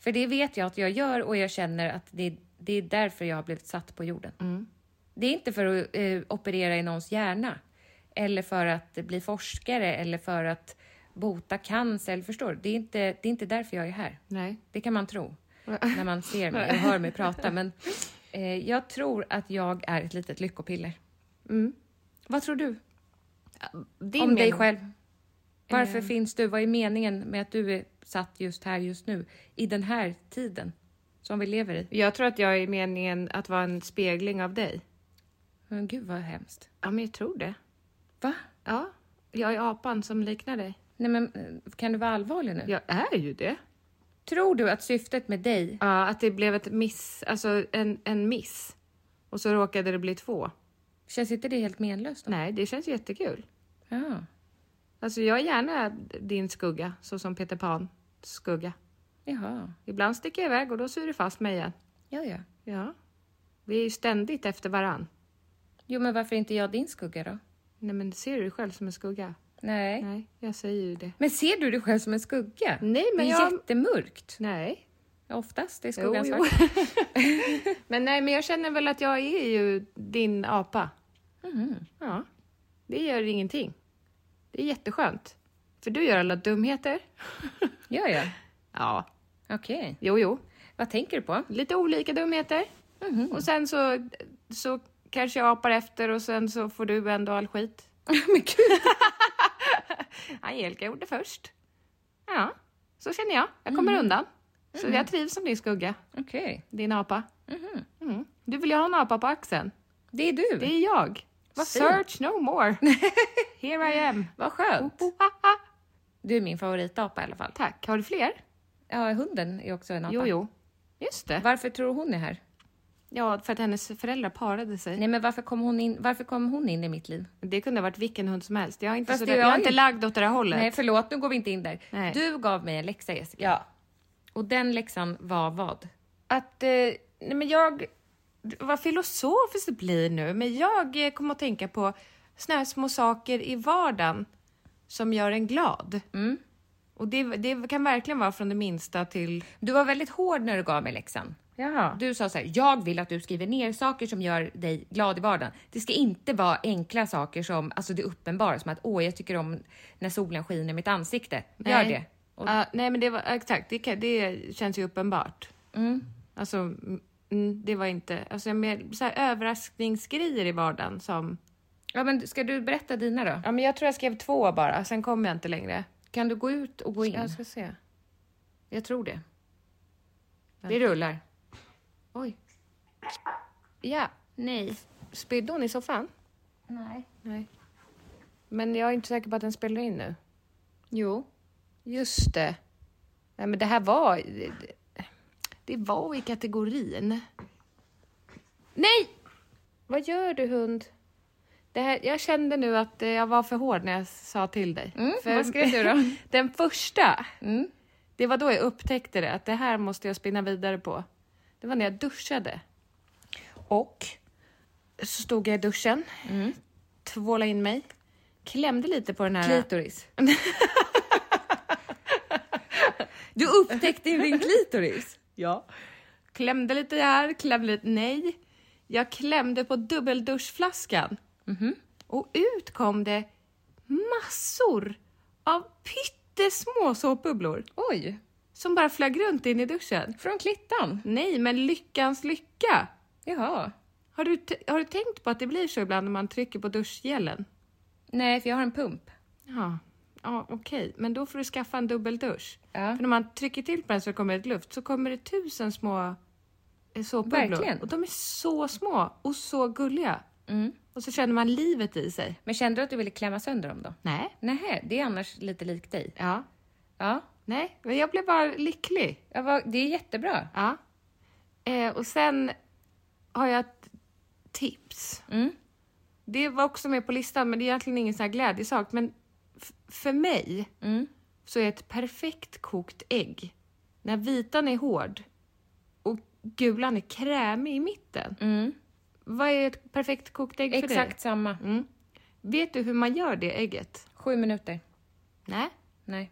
Speaker 1: För det vet jag att jag gör och jag känner att det, det är därför jag har blivit satt på jorden. Det är inte för att eh, operera i någons hjärna eller för att bli forskare eller för att bota cancer. eller Förstår du? Det är inte, det är inte därför jag är här.
Speaker 2: Nej.
Speaker 1: Det kan man tro när man ser mig och hör mig prata. Men eh, jag tror att jag är ett litet lyckopiller. Vad tror du
Speaker 2: Din
Speaker 1: om dig
Speaker 2: mening.
Speaker 1: själv? Varför
Speaker 2: Ehm.
Speaker 1: finns du? Vad är meningen med att du är satt just här just nu? I den här tiden som vi lever i.
Speaker 2: Jag tror att jag är meningen att vara en spegling av dig.
Speaker 1: Men gud vad hemskt.
Speaker 2: Ja, men jag tror det.
Speaker 1: Va?
Speaker 2: Ja, jag är apan som liknar dig.
Speaker 1: Nej men eh, kan du vara allvarlig nu?
Speaker 2: Jag är ju det.
Speaker 1: Tror du att syftet med dig...
Speaker 2: Ja, att det blev ett miss, alltså en, en miss. Och så råkade det bli två.
Speaker 1: Känns inte det helt menlöst? Då?
Speaker 2: Nej, det känns jättekul.
Speaker 1: Ja.
Speaker 2: Alltså jag är gärna din skugga, så som Peter Pan skugga.
Speaker 1: Jaha.
Speaker 2: Ibland sticker jag iväg och då syr du fast mig igen.
Speaker 1: Ja, ja.
Speaker 2: Ja. Vi är ju ständigt efter varann.
Speaker 1: Jo, men varför inte jag din skugga då?
Speaker 2: Nej, men ser du dig själv som en skugga?
Speaker 1: Nej.
Speaker 2: Nej, jag säger ju det.
Speaker 1: Men ser du dig själv som en skugga?
Speaker 2: Nej, men
Speaker 1: det är
Speaker 2: jag-
Speaker 1: jättemörkt.
Speaker 2: Nej.
Speaker 1: Oftast är
Speaker 2: Jo,
Speaker 1: skuggan
Speaker 2: jo.
Speaker 1: svart.
Speaker 2: men nej, men jag känner väl att jag är ju din apa. Ja. Det gör ingenting. Det är jätteskönt. För du gör alla dumheter.
Speaker 1: Gör jag?
Speaker 2: Ja.
Speaker 1: Okej.
Speaker 2: Jo, jo.
Speaker 1: Vad tänker du på?
Speaker 2: Lite olika dumheter. Och sen så, så kanske jag apar efter och sen så får du ändå all skit.
Speaker 1: men gud.
Speaker 2: Angelica gjorde först. Ja, så känner jag. Jag kommer undan. Så jag trivs som din skugga,
Speaker 1: Okej.
Speaker 2: din apa. Mm. Du vill ju ha en apa på axeln.
Speaker 1: Det är du.
Speaker 2: Det är jag. Search no more. Here I am.
Speaker 1: Vad
Speaker 2: Oh.
Speaker 1: skönt.
Speaker 2: ah,
Speaker 1: Du är min favoritapa i alla fall.
Speaker 2: Tack. Har du fler?
Speaker 1: Ja, hunden är också en apa.
Speaker 2: Jo, jo. Just det.
Speaker 1: Varför tror du hon är här?
Speaker 2: Ja, för att hennes föräldrar parade sig.
Speaker 1: Nej, men varför kom hon in, varför kom hon in i mitt liv?
Speaker 2: Det kunde ha varit vilken hund som helst. Jag är inte,
Speaker 1: Fast
Speaker 2: så
Speaker 1: det
Speaker 2: där,
Speaker 1: är
Speaker 2: jag är
Speaker 1: jag
Speaker 2: inte
Speaker 1: ju.
Speaker 2: lagd åt det här hållet.
Speaker 1: Nej, förlåt, nu går vi inte in där.
Speaker 2: Nej.
Speaker 1: Du gav mig en läxa, Jessica.
Speaker 2: Ja.
Speaker 1: Och den läxan var vad?
Speaker 2: Att, eh, nej men jag, vad filosofiskt det blir nu, men jag eh, kommer att tänka på såna här små saker i vardagen som gör en glad. Och det, det kan verkligen vara från det minsta till,
Speaker 1: Du var väldigt hård när du gav mig läxan.
Speaker 2: Jaha.
Speaker 1: Du sa så här, jag vill att du skriver ner saker som gör dig glad i vardagen. Det ska inte vara enkla saker som, alltså det uppenbara, som att åh, jag tycker om när solen skiner i mitt ansikte. Gör
Speaker 2: Nej.
Speaker 1: det. Och,
Speaker 2: Ja, nej, men det var exakt. Det, kan, det känns ju uppenbart.
Speaker 1: mm.
Speaker 2: Alltså, mm, mm, det var inte... Alltså, mer, så här, överraskningsgrejer i vardagen som...
Speaker 1: Ja, men ska du berätta dina då?
Speaker 2: Ja, men jag tror jag skrev två bara, sen kom jag inte längre.
Speaker 1: Kan du gå ut och gå in?
Speaker 2: Jag ska se.
Speaker 1: Jag tror det. Det rullar.
Speaker 2: Oj. Ja,
Speaker 1: Nej.
Speaker 2: spydde hon i soffan?
Speaker 1: Nej.
Speaker 2: Nej. Men jag är inte säker på att den spelar in nu.
Speaker 1: Jo.
Speaker 2: Just det. Nej, men det här var... Det var i kategorin.
Speaker 1: Nej!
Speaker 2: Vad gör du hund? Det här, jag kände nu att eh, jag var för hård när jag sa till dig.
Speaker 1: Mm,
Speaker 2: för,
Speaker 1: vad skrev du då?
Speaker 2: Den första,
Speaker 1: Mm.
Speaker 2: det var då jag upptäckte det, att det här måste jag spinna vidare på. Det var när jag duschade. Och så stod jag i duschen,
Speaker 1: Mm.
Speaker 2: tvålade in mig, klämde lite på den här...
Speaker 1: Äh. Klitoris. du upptäckte din klitoris?
Speaker 2: Ja. Klämde lite här, klämde lite nej. Jag klämde på dubbelduschflaskan. Och ut kom det massor av pyttesmå såpbubblor
Speaker 1: Oj.
Speaker 2: som bara flög runt in i duschen.
Speaker 1: Från klittan?
Speaker 2: Nej, men lyckans lycka!
Speaker 1: Jaha.
Speaker 2: Har du, t- har du tänkt på att det blir så ibland när man trycker på duschgelen?
Speaker 1: Nej, för jag har en pump.
Speaker 2: Ja, ja okej, men då får du skaffa en dubbeldusch.
Speaker 1: Ja.
Speaker 2: För när man trycker till på den så kommer det luft, så kommer det tusen små eh, såpbubblor.
Speaker 1: Verkligen. Mm.
Speaker 2: Och de är så små och så gulliga. Och så känner man livet i sig.
Speaker 1: Men kände du att du ville klämma sönder dem då?
Speaker 2: Nej.
Speaker 1: Nej, det är annars lite likt dig.
Speaker 2: Ja.
Speaker 1: Ja,
Speaker 2: Nej, men jag blev bara lycklig.
Speaker 1: jag var, det är jättebra.
Speaker 2: Ja. Eh, och sen har jag ett tips.
Speaker 1: Mm.
Speaker 2: Det var också med på listan, men det är egentligen ingen sån här glädjesak. Men f- för mig
Speaker 1: Mm.
Speaker 2: så är ett perfekt kokt ägg när vitan är hård och gulan är krämig i mitten.
Speaker 1: Mm.
Speaker 2: Vad är ett perfekt kokt ägg för dig?
Speaker 1: Exakt samma.
Speaker 2: Mm. Vet du hur man gör det ägget?
Speaker 1: Sju minuter.
Speaker 2: Nej.
Speaker 1: Nej.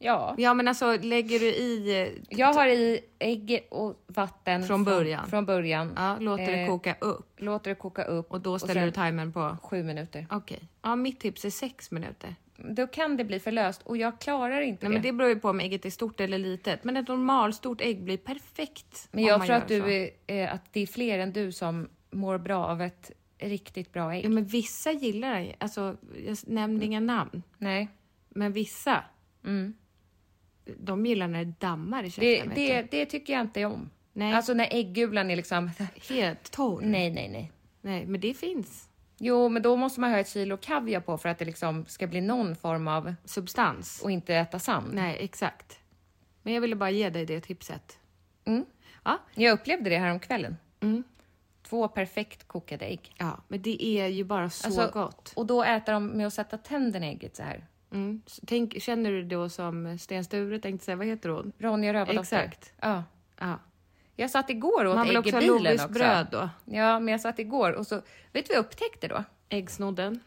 Speaker 1: Ja.
Speaker 2: Ja, men alltså lägger du i... eh,
Speaker 1: Jag har i ägg och vatten
Speaker 2: Från början.
Speaker 1: Från början.
Speaker 2: Ja, låter det
Speaker 1: Eh,
Speaker 2: koka upp
Speaker 1: Låter det koka upp.
Speaker 2: och då ställer
Speaker 1: sen
Speaker 2: du timern på...
Speaker 1: Sju minuter.
Speaker 2: Okej. Ja, mitt tips är sex minuter.
Speaker 1: Då kan det bli för löst och jag klarar inte
Speaker 2: Nej, men
Speaker 1: det.
Speaker 2: det beror ju på om ägget är stort eller litet. Men ett normalstort ägg blir perfekt
Speaker 1: Men
Speaker 2: om
Speaker 1: jag
Speaker 2: man
Speaker 1: tror
Speaker 2: gör
Speaker 1: att, du
Speaker 2: så.
Speaker 1: är, eh, att det är fler än du som mår bra av ett riktigt bra ägg.
Speaker 2: Ja, men vissa gillar det. Alltså, jag nämner inga namn.
Speaker 1: Nej.
Speaker 2: Men vissa,
Speaker 1: Mm.
Speaker 2: de gillar när det dammar i
Speaker 1: Det,
Speaker 2: käften. vet
Speaker 1: det, det tycker jag inte om.
Speaker 2: Nej. Mm.
Speaker 1: Alltså när äggulan är liksom...
Speaker 2: du. Helt torr. Nej.
Speaker 1: Nej, nej, nej.
Speaker 2: men det finns
Speaker 1: Jo, men då måste man ha ett kilo kaviar på för att det liksom ska bli någon form av...
Speaker 2: substans.
Speaker 1: Och inte äta sand.
Speaker 2: Nej, exakt. Men jag ville bara ge dig det tipset.
Speaker 1: Mm.
Speaker 2: Ja,
Speaker 1: Jag upplevde det här om kvällen.
Speaker 2: Mm.
Speaker 1: Två perfekt kokade ägg.
Speaker 2: ja men det är ju bara så
Speaker 1: Alltså,
Speaker 2: gott.
Speaker 1: Och då äter de med att sätta tänderna i ägget så här.
Speaker 2: Mm. Så Tänk, känner du då som Sten Sture tänkte säga, vad heter hon?
Speaker 1: Ronja Rövardotter.
Speaker 2: Exakt.
Speaker 1: Ja.
Speaker 2: Ja.
Speaker 1: Jag satt igår och åt
Speaker 2: Man vill
Speaker 1: ägg
Speaker 2: också
Speaker 1: i
Speaker 2: ha
Speaker 1: bilen
Speaker 2: logiskt
Speaker 1: också.
Speaker 2: bröd då.
Speaker 1: Ja, men jag satt igår och så... Vet du vad jag upptäckte då?
Speaker 2: Äggsnodden.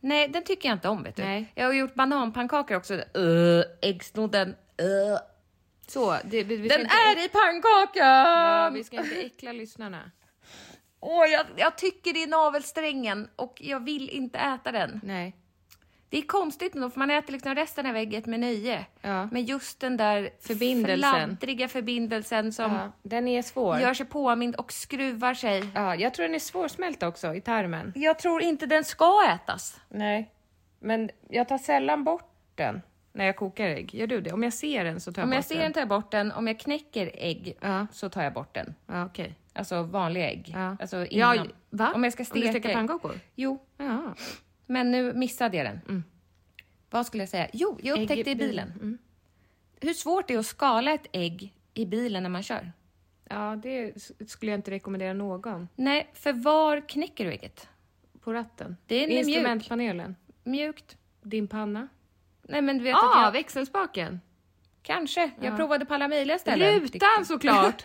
Speaker 1: Nej, den tycker jag inte om vet du.
Speaker 2: Nej.
Speaker 1: Jag har gjort bananpannkakor också. Uh, äggsnodden. Uh.
Speaker 2: Så, det, vi, vi ska
Speaker 1: Den
Speaker 2: inte,
Speaker 1: är i pannkakan!
Speaker 2: Ja, vi ska inte äckla lyssnarna.
Speaker 1: Åh, jag, jag tycker det är navelsträngen och jag vill inte äta den.
Speaker 2: Nej.
Speaker 1: Det är konstigt nog för man äter liksom resten av ägget med nöje.
Speaker 2: Ja.
Speaker 1: Men just den där
Speaker 2: Förbindelsen.
Speaker 1: fladdriga förbindelsen som
Speaker 2: Ja, den är svår.
Speaker 1: gör sig påmind och skruvar sig.
Speaker 2: Ja, jag tror den är svårsmält också i tarmen.
Speaker 1: Jag tror inte den ska ätas.
Speaker 2: Nej, men jag tar sällan bort den när jag kokar ägg. Gör du det? Om jag ser den så tar jag
Speaker 1: Om
Speaker 2: bort
Speaker 1: jag ser den
Speaker 2: den.
Speaker 1: tar jag bort den, om jag knäcker ägg
Speaker 2: Ja.
Speaker 1: så tar jag bort den.
Speaker 2: Ja, okej.
Speaker 1: Alltså vanliga ägg.
Speaker 2: Ja.
Speaker 1: Alltså
Speaker 2: Ja,
Speaker 1: innan.
Speaker 2: va?
Speaker 1: Om jag ska
Speaker 2: Om du
Speaker 1: steka,
Speaker 2: steker pannkakor?
Speaker 1: Jo,
Speaker 2: Ja.
Speaker 1: men nu missade jag den. Vad skulle jag säga? Jo, jag
Speaker 2: Mm. Ägg i
Speaker 1: upptäckte i
Speaker 2: bil. Mm.
Speaker 1: bilen. Hur svårt det är att skala ett ägg i bilen när man kör.
Speaker 2: ja, det s- skulle jag inte rekommendera någon.
Speaker 1: Nej, för var knäcker du ägget?
Speaker 2: På ratten.
Speaker 1: Den är mjuk.
Speaker 2: Instrumentpanelen.
Speaker 1: Mjukt?
Speaker 2: Din panna. Ah!
Speaker 1: Nej, men du vet att
Speaker 2: Ja,
Speaker 1: jag...
Speaker 2: växelspaken.
Speaker 1: Kanske. Jag provade på alla möjliga ställen.
Speaker 2: Rutan såklart!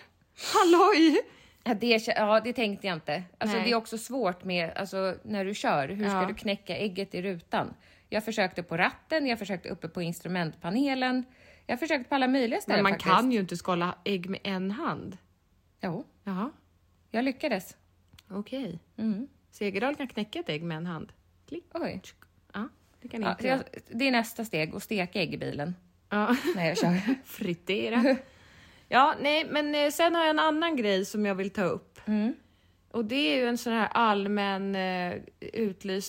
Speaker 2: Halloj!
Speaker 1: Ja det, kä- ja, det tänkte jag inte. Alltså,
Speaker 2: Nej.
Speaker 1: det är också svårt med, alltså, när du kör, hur ska
Speaker 2: Ja.
Speaker 1: du knäcka ägget i rutan? Jag försökte på ratten, jag försökte uppe på instrumentpanelen. Jag har försökt på alla möjliga ställen
Speaker 2: Men man
Speaker 1: faktiskt.
Speaker 2: kan ju inte skala ägg med en hand.
Speaker 1: Jo,
Speaker 2: Jaha, Mm.
Speaker 1: jag lyckades.
Speaker 2: okej. Segerdal kan knäcka ett ägg med en hand. Klick.
Speaker 1: Oj.
Speaker 2: Ja, det kan
Speaker 1: Ja,
Speaker 2: inte
Speaker 1: jag,
Speaker 2: jag.
Speaker 1: det är nästa steg, att steka ägg i bilen.
Speaker 2: Ja.
Speaker 1: När jag kör.
Speaker 2: Fritera. Ja, nej, men eh, sen har jag en annan grej som jag vill ta upp. Och det är ju en sån här allmän eh,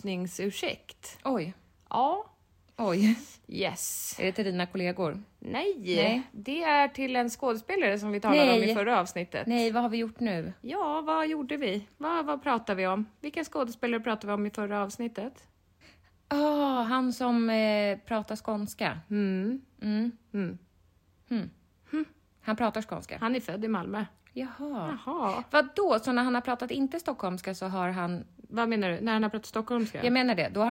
Speaker 2: utlysningsursäkt.
Speaker 1: Oj.
Speaker 2: Ja.
Speaker 1: Oj.
Speaker 2: Yes.
Speaker 1: Är det till dina kollegor?
Speaker 2: Nej,
Speaker 1: Nej.
Speaker 2: det är till en skådespelare som vi talade om
Speaker 1: Nej.
Speaker 2: i förra avsnittet.
Speaker 1: Nej, vad har vi gjort nu?
Speaker 2: Ja, vad gjorde vi? Vad, vad pratade vi om? Vilka skådespelare pratade vi om i förra avsnittet?
Speaker 1: Ah, han som eh, pratar skånska. Mm. Mm. Han pratar skånska.
Speaker 2: Hm. Han är född i Malmö.
Speaker 1: Jaha.
Speaker 2: Jaha.
Speaker 1: Vadå, så när han har pratat inte stockholmska så har han...
Speaker 2: Vad menar du? När han har pratat stockholmska?
Speaker 1: Jag menar det, då har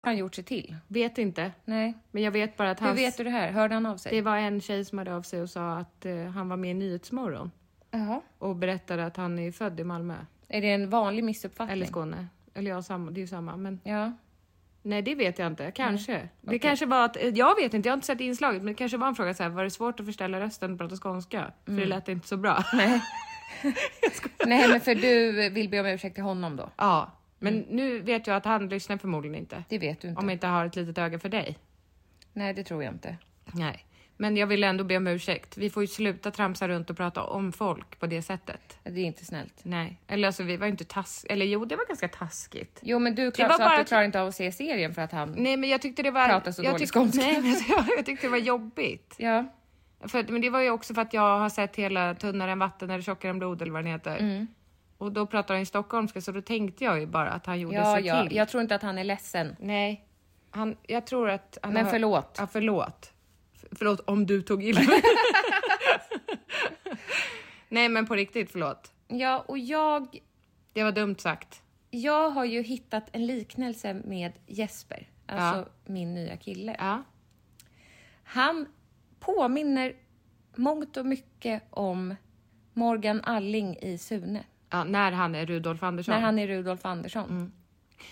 Speaker 1: han gjort sig till.
Speaker 2: Vet inte.
Speaker 1: Nej.
Speaker 2: Men jag vet bara att
Speaker 1: Hur
Speaker 2: hans...
Speaker 1: vet du det här? Hörde han av sig?
Speaker 2: Det var en tjej som hörde av sig och sa att eh, han var med i Nyhetsmorgon
Speaker 1: Jaha.
Speaker 2: och berättade att han är född i Malmö.
Speaker 1: Är det en vanlig missuppfattning?
Speaker 2: Eller Skåne. Eller ja, samma, det är ju samma. Men
Speaker 1: Ja.
Speaker 2: nej, det vet jag inte. Kanske. Det kanske var att... eh, Jag vet inte, jag har inte sett inslaget. Men det kanske var en fråga så här, var det svårt att förställa rösten och prata skånska? För det
Speaker 1: Mm.
Speaker 2: lät inte så bra.
Speaker 1: Nej, men för du vill be om ursäkt till honom då?
Speaker 2: ja, men nu vet jag att han lyssnar förmodligen inte.
Speaker 1: Mm. Det vet du inte.
Speaker 2: Om jag inte har ett litet öga för dig.
Speaker 1: Nej, det tror jag inte.
Speaker 2: Nej. Men jag vill ändå be om ursäkt. Vi får ju sluta tramsa runt och prata om folk på det sättet.
Speaker 1: Det är inte snällt.
Speaker 2: Nej, eller alltså vi var ju inte task... Eller jo, det var ganska taskigt.
Speaker 1: Jo, men du
Speaker 2: var
Speaker 1: klarar,
Speaker 2: bara
Speaker 1: att du
Speaker 2: att-
Speaker 1: klarar inte av att se serien för att han...
Speaker 2: Nej, men jag tyckte det var...
Speaker 1: Prata så
Speaker 2: jag
Speaker 1: dålig
Speaker 2: tyck-
Speaker 1: skånska.
Speaker 2: Nej, men jag, jag tyckte det var jobbigt.
Speaker 1: Ja.
Speaker 2: För, men det var ju också för att jag har sett hela Tunnare än vatten eller Tjockare än blod eller vad den heter.
Speaker 1: Mm.
Speaker 2: Och då pratar han ju stockholmska, så då tänkte jag ju bara att han gjorde
Speaker 1: Ja,
Speaker 2: sig
Speaker 1: ja.
Speaker 2: till.
Speaker 1: Jag tror inte att han är ledsen.
Speaker 2: Nej, han, jag tror att... Han
Speaker 1: Men
Speaker 2: har-
Speaker 1: förlåt.
Speaker 2: Ja, förlåt. F- förlåt om du tog illa Nej, men på riktigt, förlåt.
Speaker 1: Ja, och jag,
Speaker 2: Det var dumt sagt.
Speaker 1: jag har ju hittat en liknelse med Jesper, alltså min nya kille.
Speaker 2: Ja.
Speaker 1: Han påminner mångt och mycket om Morgan Alling i Sune,
Speaker 2: ja, när han är Rudolf Andersson.
Speaker 1: när han är Rudolf Andersson.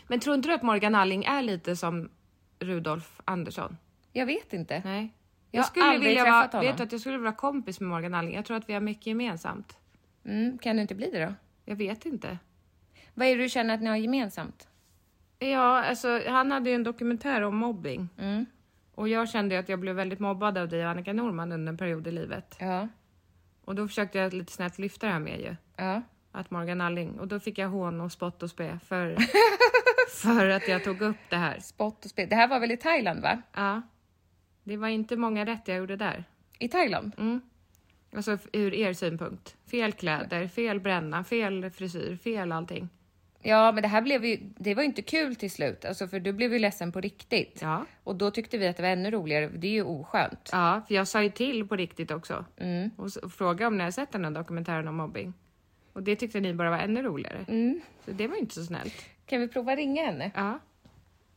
Speaker 2: Men tror inte du att Morgan Alling är lite som Rudolf Andersson?
Speaker 1: Jag vet inte.
Speaker 2: Nej.
Speaker 1: Jag
Speaker 2: Jag,
Speaker 1: har
Speaker 2: skulle
Speaker 1: aldrig
Speaker 2: vilja
Speaker 1: träffat
Speaker 2: vara,
Speaker 1: honom.
Speaker 2: vet du att jag skulle vilja vara kompis med Morgan Alling. Jag tror att vi har mycket gemensamt.
Speaker 1: Mm, kan du inte bli det då?
Speaker 2: Jag vet inte.
Speaker 1: Vad är det du känner att ni har gemensamt?
Speaker 2: Ja, alltså han hade ju en dokumentär om mobbing. Och jag kände ju att jag blev väldigt mobbad av dig och Annika Norman under en period i livet.
Speaker 1: Ja.
Speaker 2: Och då försökte jag lite snett lyfta det här med ju.
Speaker 1: Ja.
Speaker 2: Att Morgan Alling. Och då fick jag hån och spott och spe för, för att jag tog upp det här.
Speaker 1: Spott och spel. Det här var väl i Thailand, va?
Speaker 2: Ja. Det var inte många rätt jag gjorde där.
Speaker 1: I Thailand?
Speaker 2: Alltså f- ur er synpunkt. Fel kläder, fel bränna, fel frisyr, fel allting.
Speaker 1: Ja, men det här blev ju, det var ju inte kul till slut, alltså för du blev ju ledsen på riktigt.
Speaker 2: Ja.
Speaker 1: Och då tyckte vi att det var ännu roligare, det är ju oskönt.
Speaker 2: Ja, för jag sa ju till på riktigt också.
Speaker 1: Mm.
Speaker 2: Och, s- och frågade om ni har sett den här dokumentären om mobbing. Och det tyckte ni bara var ännu roligare.
Speaker 1: Mm.
Speaker 2: Så det var ju inte så snällt.
Speaker 1: Kan vi prova ringa henne?
Speaker 2: Ja.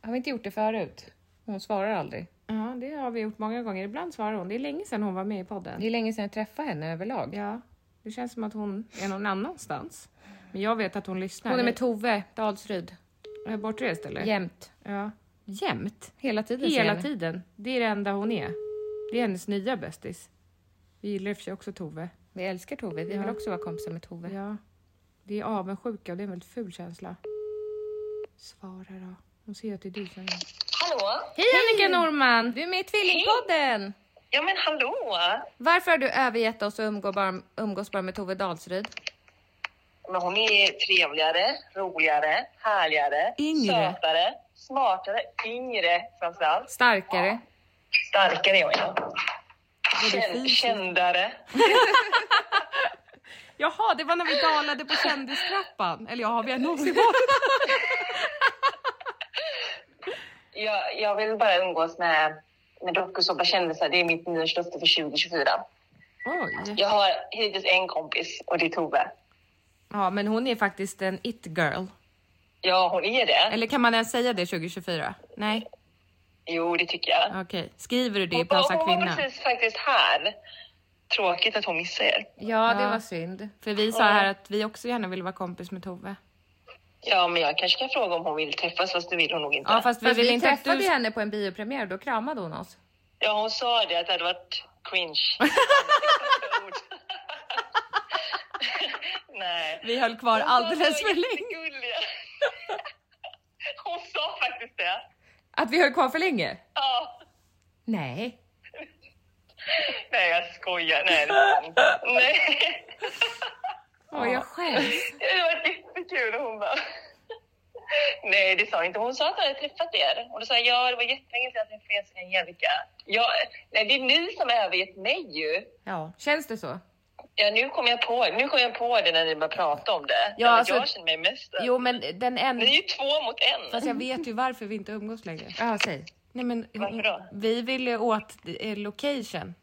Speaker 1: Har vi inte gjort det förut? Hon svarar aldrig.
Speaker 2: ja, det har vi gjort många gånger. Ibland svarar hon. Det är länge sedan hon var med i
Speaker 1: Det
Speaker 2: podden.
Speaker 1: är länge sedan jag träffade henne överlag.
Speaker 2: Ja, det känns som att hon är någon annanstans. Men jag vet att hon lyssnar.
Speaker 1: Hon är med Tove Dalsryd.
Speaker 2: Är bortrest eller?
Speaker 1: Jämt.
Speaker 2: Ja. Jämt?
Speaker 1: Hela tiden ser jag
Speaker 2: Hela
Speaker 1: henne.
Speaker 2: tiden. Det är det enda hon är. Det är hennes nya bästis. Vi gillar i och för sig också Tove.
Speaker 1: Vi älskar Tove, vi vill också vara kompisar med Tove.
Speaker 2: Ja. Det är avundsjuka och det är en väldigt ful känsla. Svara då. Hon säger att det är du som...
Speaker 3: Hallå?
Speaker 2: Hej Annika Norman!
Speaker 1: Du är med i Tvillingpodden!
Speaker 3: Ja, men hallå!
Speaker 1: Varför har du övergett oss och umgås bara, umgås bara med Tove Dahlsryd?
Speaker 3: Men hon är trevligare, roligare, härligare,
Speaker 2: Yngre.
Speaker 3: sötare, smartare, yngre framförallt.
Speaker 1: Starkare?
Speaker 3: Starkare är hon ja. Kän-
Speaker 2: fint.
Speaker 3: kändare.
Speaker 2: Jaha, det var när vi dalade på kändistrappan. Eller ja, har vi någonsin varit?
Speaker 3: Jag, jag vill bara umgås med, med dokusåpakändisar. Det är mitt nyårslöfte för 2024.
Speaker 2: Oj.
Speaker 3: Jag har hittills en kompis och det är Tove.
Speaker 2: Ja, men hon är faktiskt en it-girl.
Speaker 3: Ja, hon är det.
Speaker 2: Eller kan man ens säga det 2024? Nej,
Speaker 3: Jo, det tycker jag.
Speaker 2: okej. Skriver du det i
Speaker 3: Hon,
Speaker 2: Passa
Speaker 3: hon var
Speaker 2: kvinna?
Speaker 3: precis faktiskt här. Tråkigt att hon missar er.
Speaker 1: Ja, det var synd.
Speaker 2: För vi sa här att vi också gärna vill vara kompis med Tove.
Speaker 3: Ja, men jag kanske kan fråga om hon vill träffas, fast det vill hon nog inte.
Speaker 2: Ja, fast vi
Speaker 1: Fast
Speaker 2: vill
Speaker 1: vi
Speaker 2: inte att
Speaker 1: träffade
Speaker 2: du...
Speaker 1: ju henne på en biopremiär och då kramade hon oss.
Speaker 3: Ja, hon sa det att det hade varit cringe. Ord. Nej.
Speaker 2: Vi höll kvar alldeles för länge.
Speaker 3: länge. Hon sa faktiskt det.
Speaker 1: Att vi höll kvar för länge?
Speaker 3: Ja.
Speaker 1: Nej.
Speaker 3: Nej, jag skojar. Nej, det var hon. Nej.
Speaker 1: Åh, jag skäms.
Speaker 3: Det var jättekul och hon bara... Nej, det sa hon inte. Hon sa att hon hade träffat er. Och då sa jag, ja, det var jättelänge sedan jag träffade er, Angelica. Ja, nej, det är ni som har övergett mig ju.
Speaker 1: Ja, känns det så?
Speaker 3: Ja, nu kom jag på, nu kom jag på det när ni började prata om det.
Speaker 2: Ja,
Speaker 3: Ja,
Speaker 2: alltså-
Speaker 3: jag känner mig mest...
Speaker 2: Jo, men den
Speaker 3: Ni är
Speaker 2: enda...
Speaker 3: ju två mot en.
Speaker 2: Fast jag vet ju varför vi inte umgås längre.
Speaker 1: Ja, säg.
Speaker 2: Nej, men hon-
Speaker 3: Varför då?
Speaker 2: Vi ville åt eh, location.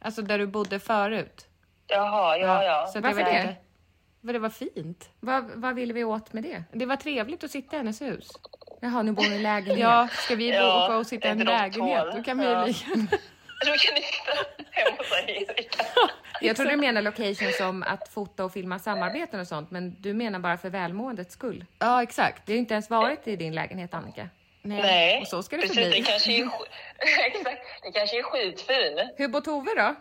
Speaker 2: Alltså där du bodde förut.
Speaker 3: Jaha, ja, ja.
Speaker 2: Så att
Speaker 1: Varför
Speaker 2: var
Speaker 1: det?
Speaker 2: inte- För det var fint.
Speaker 1: Vad, vad ville vi åt med det?
Speaker 2: Det var trevligt att sitta i hennes hus.
Speaker 1: Jaha, nu bor ni i lägenhet.
Speaker 2: Ja, ska vi
Speaker 3: Ja,
Speaker 2: åka och sitta i en
Speaker 3: ett rått
Speaker 2: lägenhet?
Speaker 3: hål.
Speaker 2: Då kan vi
Speaker 3: Ja.
Speaker 2: lika-
Speaker 3: Då kan ni sitta hemma hos Angelica.
Speaker 1: Jag trodde du menade location som att fota och filma samarbeten och sånt, men du menar bara för välmåendets skull.
Speaker 2: Ja, exakt.
Speaker 1: Vi har ju inte ens varit i din lägenhet, Annika.
Speaker 3: Nej,
Speaker 2: Och så ska det
Speaker 3: precis.
Speaker 2: förbli.
Speaker 3: Den kanske är, sk- Exakt. Den kanske är skitfin,
Speaker 1: Hur bor Tove då?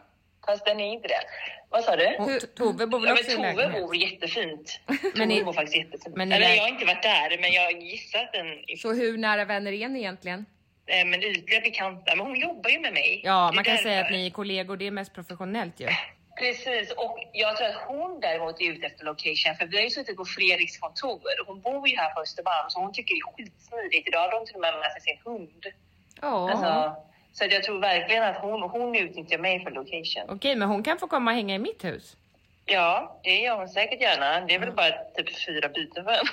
Speaker 3: fast den är inte det. Vad sa du?
Speaker 1: Hur, Tove bor väl
Speaker 3: Ja,
Speaker 1: också
Speaker 3: men
Speaker 1: i en
Speaker 3: Tove
Speaker 1: lägenhet?
Speaker 3: bor jättefint.
Speaker 2: Men
Speaker 3: Men
Speaker 2: i-
Speaker 3: Tove bor faktiskt jättefint.
Speaker 2: men i
Speaker 3: Eller,
Speaker 2: lä-
Speaker 3: jag har inte varit där, men jag gissar att den är
Speaker 1: Så hur nära vänner är ni egentligen?
Speaker 3: eh, men ytliga bekanta. Men hon jobbar ju med mig.
Speaker 2: Ja,
Speaker 3: Det är
Speaker 2: man kan säga att
Speaker 3: därför.
Speaker 2: ni är kollegor. Det är mest professionellt ju.
Speaker 3: Precis, och jag tror att hon däremot är ute efter location. För vi har ju suttit på Fredriks kontor. Hon bor ju här på Östermalm, så hon tycker det är skitsmidigt. Idag har de till och med med sig sin hund.
Speaker 1: Ja.
Speaker 3: Alltså, så att jag tror verkligen att hon, hon utnyttjar mig för location.
Speaker 2: Okej, men hon kan få komma och hänga i mitt hus.
Speaker 3: Ja, det gör hon säkert gärna. Det är väl bara typ fyra byten för henne.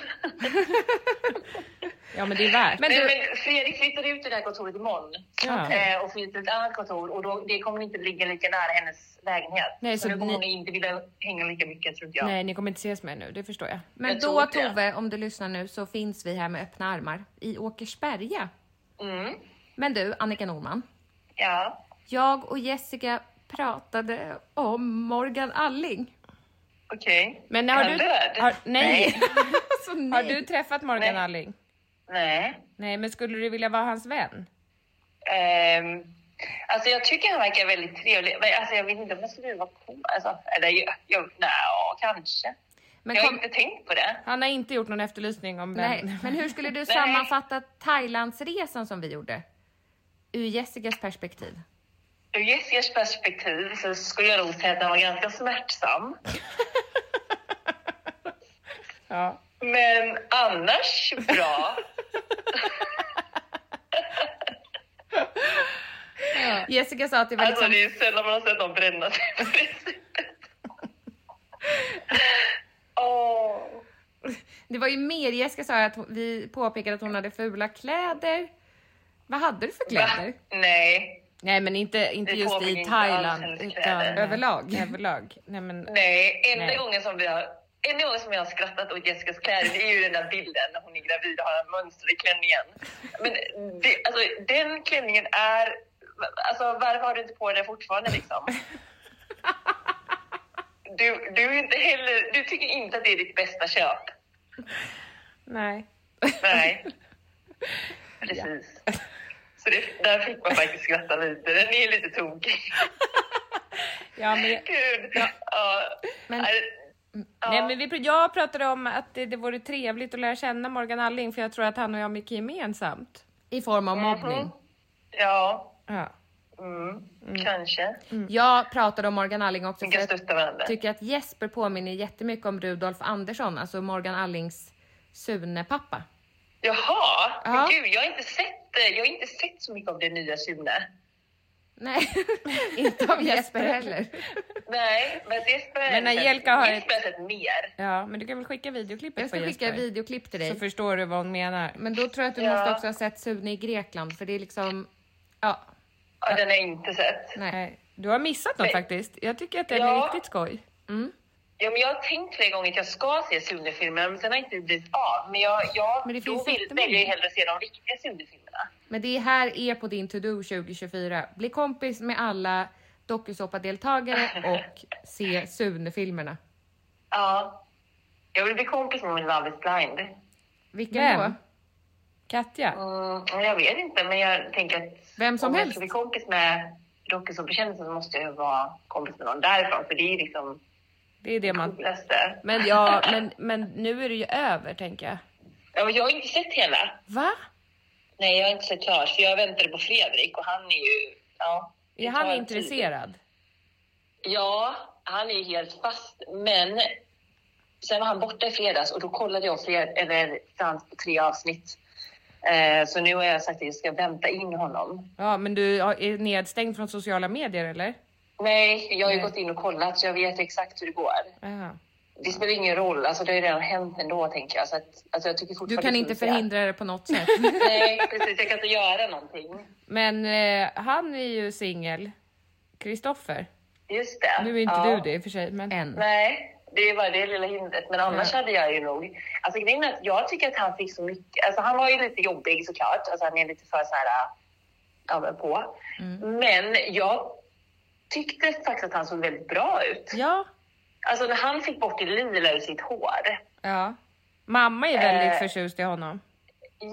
Speaker 2: Ja, men det är värt.
Speaker 1: Men
Speaker 3: Men,
Speaker 1: du,
Speaker 3: men Fredrik flyttar ut det där kontoret imorgon
Speaker 2: Ja.
Speaker 3: eh, och flyttar till ett annat kontor och då, det kommer inte ligga lika nära hennes lägenhet.
Speaker 2: Nej, så
Speaker 3: så då kommer
Speaker 2: ni-
Speaker 3: hon inte vilja hänga lika mycket tror inte jag.
Speaker 2: Nej, ni kommer inte ses mer nu. Det förstår jag.
Speaker 1: men
Speaker 3: jag
Speaker 1: då
Speaker 3: tror det.
Speaker 1: Tove, om du lyssnar nu så finns vi här med öppna armar i Åkersberga.
Speaker 3: Mm.
Speaker 1: Men du, Annika Norman.
Speaker 3: Ja.
Speaker 1: Jag och Jessica pratade om Morgan Alling.
Speaker 3: Okej.
Speaker 2: Men har
Speaker 3: Är
Speaker 2: du...
Speaker 3: han död?
Speaker 2: Har, nej.
Speaker 1: Alltså, nej.
Speaker 2: Har du träffat Morgan
Speaker 3: Nej.
Speaker 2: Alling?
Speaker 3: Nej.
Speaker 2: Nej, men skulle du vilja vara hans vän?
Speaker 3: Ehm, alltså jag tycker han verkar väldigt trevlig. Men alltså jag vet inte om jag skulle vara cool. Alltså, eller jag, jag, nej, ja, kanske.
Speaker 1: Men
Speaker 3: jag har
Speaker 1: kom-
Speaker 3: inte tänkt på det.
Speaker 2: Han har inte gjort någon efterlysning om vem.
Speaker 1: Nej, men hur skulle du sammanfatta Thailandsresan som vi gjorde? Ur Jessicas perspektiv.
Speaker 3: Ur Jessicas perspektiv så skulle jag nog säga att han var ganska smärtsam.
Speaker 2: Ja.
Speaker 3: Men annars bra.
Speaker 1: Jessica sa att det var
Speaker 3: Alltså
Speaker 1: liksom...
Speaker 3: det är sällan man har sett någon bränna sig på det sättet. Åh.
Speaker 1: Det var ju mer, Jessica sa att hon- vi påpekade att hon hade fula kläder. Vad hade du för kläder?
Speaker 3: Nej,
Speaker 2: Nej, men inte, inte
Speaker 3: Det
Speaker 2: just
Speaker 3: påminner
Speaker 2: i
Speaker 3: inte alls
Speaker 2: Thailand.
Speaker 3: hennes
Speaker 2: Utan
Speaker 3: kläder.
Speaker 2: överlag. överlag. Nej, men...
Speaker 3: nej. Enda
Speaker 2: Nej.
Speaker 3: gången som vi har enda gången som jag har skrattat åt Jessicas kläder det är ju den där bilden när hon är gravid och har en mönster i klänningen. Men det, alltså, den klänningen är... Alltså, varför har du inte på den fortfarande liksom? Du, du, är inte heller, du tycker inte att det är ditt bästa köp.
Speaker 2: Nej.
Speaker 3: Nej. Precis. Så det, där fick man faktiskt skratta lite. Den är lite tokig.
Speaker 2: Ja, men...
Speaker 3: Gud. Ja.
Speaker 1: Men-
Speaker 3: Nej,
Speaker 2: Nej, men vi, pr- jag pratade om att det, det vore trevligt att lära känna Morgan Alling för jag tror att han och jag har mycket gemensamt.
Speaker 1: I form
Speaker 3: Mhm.
Speaker 1: av mobbning.
Speaker 3: Ja,
Speaker 2: Ja.
Speaker 3: mm, kanske.
Speaker 1: Mm. Jag pratade om Morgan Alling också
Speaker 3: Vi
Speaker 1: för
Speaker 3: kan
Speaker 1: jag
Speaker 3: stötta varandra.
Speaker 1: tycker att Jesper påminner jättemycket om Rudolf Andersson, alltså Morgan Allings Sune-pappa.
Speaker 3: Jaha,
Speaker 1: Ja.
Speaker 3: men gud, jag har, inte sett, eh, jag har inte sett så mycket av det nya Sune.
Speaker 1: Nej, inte av Jesper heller.
Speaker 3: Nej, men Jesper har
Speaker 2: Men när
Speaker 3: jag sett-
Speaker 2: Jelka har
Speaker 3: Jesper har sett mer.
Speaker 2: ja, men du kan väl skicka videoklippet
Speaker 1: Jag ska
Speaker 2: på
Speaker 1: skicka
Speaker 2: Jesper?
Speaker 1: videoklipp till
Speaker 2: så
Speaker 1: dig.
Speaker 2: förstår du vad hon menar.
Speaker 1: Men då tror jag att du
Speaker 3: Ja.
Speaker 1: måste också ha sett Sune i Grekland, för det är liksom... Ja,
Speaker 3: Ja, den har jag inte sett.
Speaker 2: Nej, du har missat något
Speaker 3: Men-
Speaker 2: faktiskt. Jag tycker att den är
Speaker 3: Ja.
Speaker 2: riktigt skoj.
Speaker 3: Ja, men jag har tänkt flera gånger att jag ska se Sune-filmer, men sen har jag inte blivit av. Men jag, jag
Speaker 1: Men det
Speaker 3: då
Speaker 1: finns
Speaker 3: vill,
Speaker 1: jättemånga.
Speaker 3: väljer jag hellre se de riktiga Sune-filmerna.
Speaker 1: Men det här är på din to-do 2024. Bli kompis med alla dokusåpadeltagare och se Sune-filmerna.
Speaker 3: Ja. Jag vill bli kompis med min Love is blind.
Speaker 1: Vilken
Speaker 2: Vem?
Speaker 1: då?
Speaker 2: Katja?
Speaker 3: Mm, men jag vet inte, men jag tänker att
Speaker 1: Vem som
Speaker 3: om jag
Speaker 1: helst.
Speaker 3: ska bli kompis med Dokusåpakändisen så måste jag ju vara kompis med någon därifrån, för det är liksom
Speaker 2: Det är det man...
Speaker 3: coolaste.
Speaker 2: Men, ja, men, men nu är det ju över, tänker jag.
Speaker 3: Ja, men jag har inte sett hela.
Speaker 2: Va?
Speaker 3: Nej, jag har inte sett klart, för jag väntade på Fredrik och han är ju... Ja, det
Speaker 2: Är
Speaker 3: tar
Speaker 2: han
Speaker 3: tid.
Speaker 2: intresserad?
Speaker 3: Ja, han är ju helt fast. Men sen var han borta i fredags och då kollade jag fred, eller, dans på tre avsnitt. Eh, så nu har jag sagt att jag ska vänta in honom.
Speaker 2: Ja, men du har- är nedstängd från sociala medier, eller?
Speaker 3: Nej, jag har ju
Speaker 2: Nej.
Speaker 3: gått in och kollat så jag vet exakt hur det går.
Speaker 2: Jaha.
Speaker 3: Det spelar ingen roll, alltså, det har ju redan hänt ändå tänker jag. Så att, alltså, jag tycker
Speaker 1: Du
Speaker 3: fortfarande
Speaker 1: kan
Speaker 3: det
Speaker 1: inte
Speaker 3: finns, ja.
Speaker 1: förhindra det på något sätt.
Speaker 3: Nej, precis. Jag kan inte göra någonting.
Speaker 2: Men eh, han är ju singel. Kristoffer.
Speaker 3: Just det.
Speaker 2: Nu är inte
Speaker 3: Ja.
Speaker 2: du det i och för sig, men...
Speaker 1: Än.
Speaker 3: Nej, det var det lilla hindret. Men annars hade jag ju nog... Alltså grejen är att jag tycker att han fick så mycket... Alltså han var ju lite jobbig såklart. Alltså han är lite för så här... Ja, men på. Men jag tyckte faktiskt att han såg väldigt bra ut.
Speaker 2: Ja.
Speaker 3: Alltså när han fick bort det lila ur sitt hår.
Speaker 2: ja. Mamma är väldigt
Speaker 3: Eh.
Speaker 2: förtjust i honom.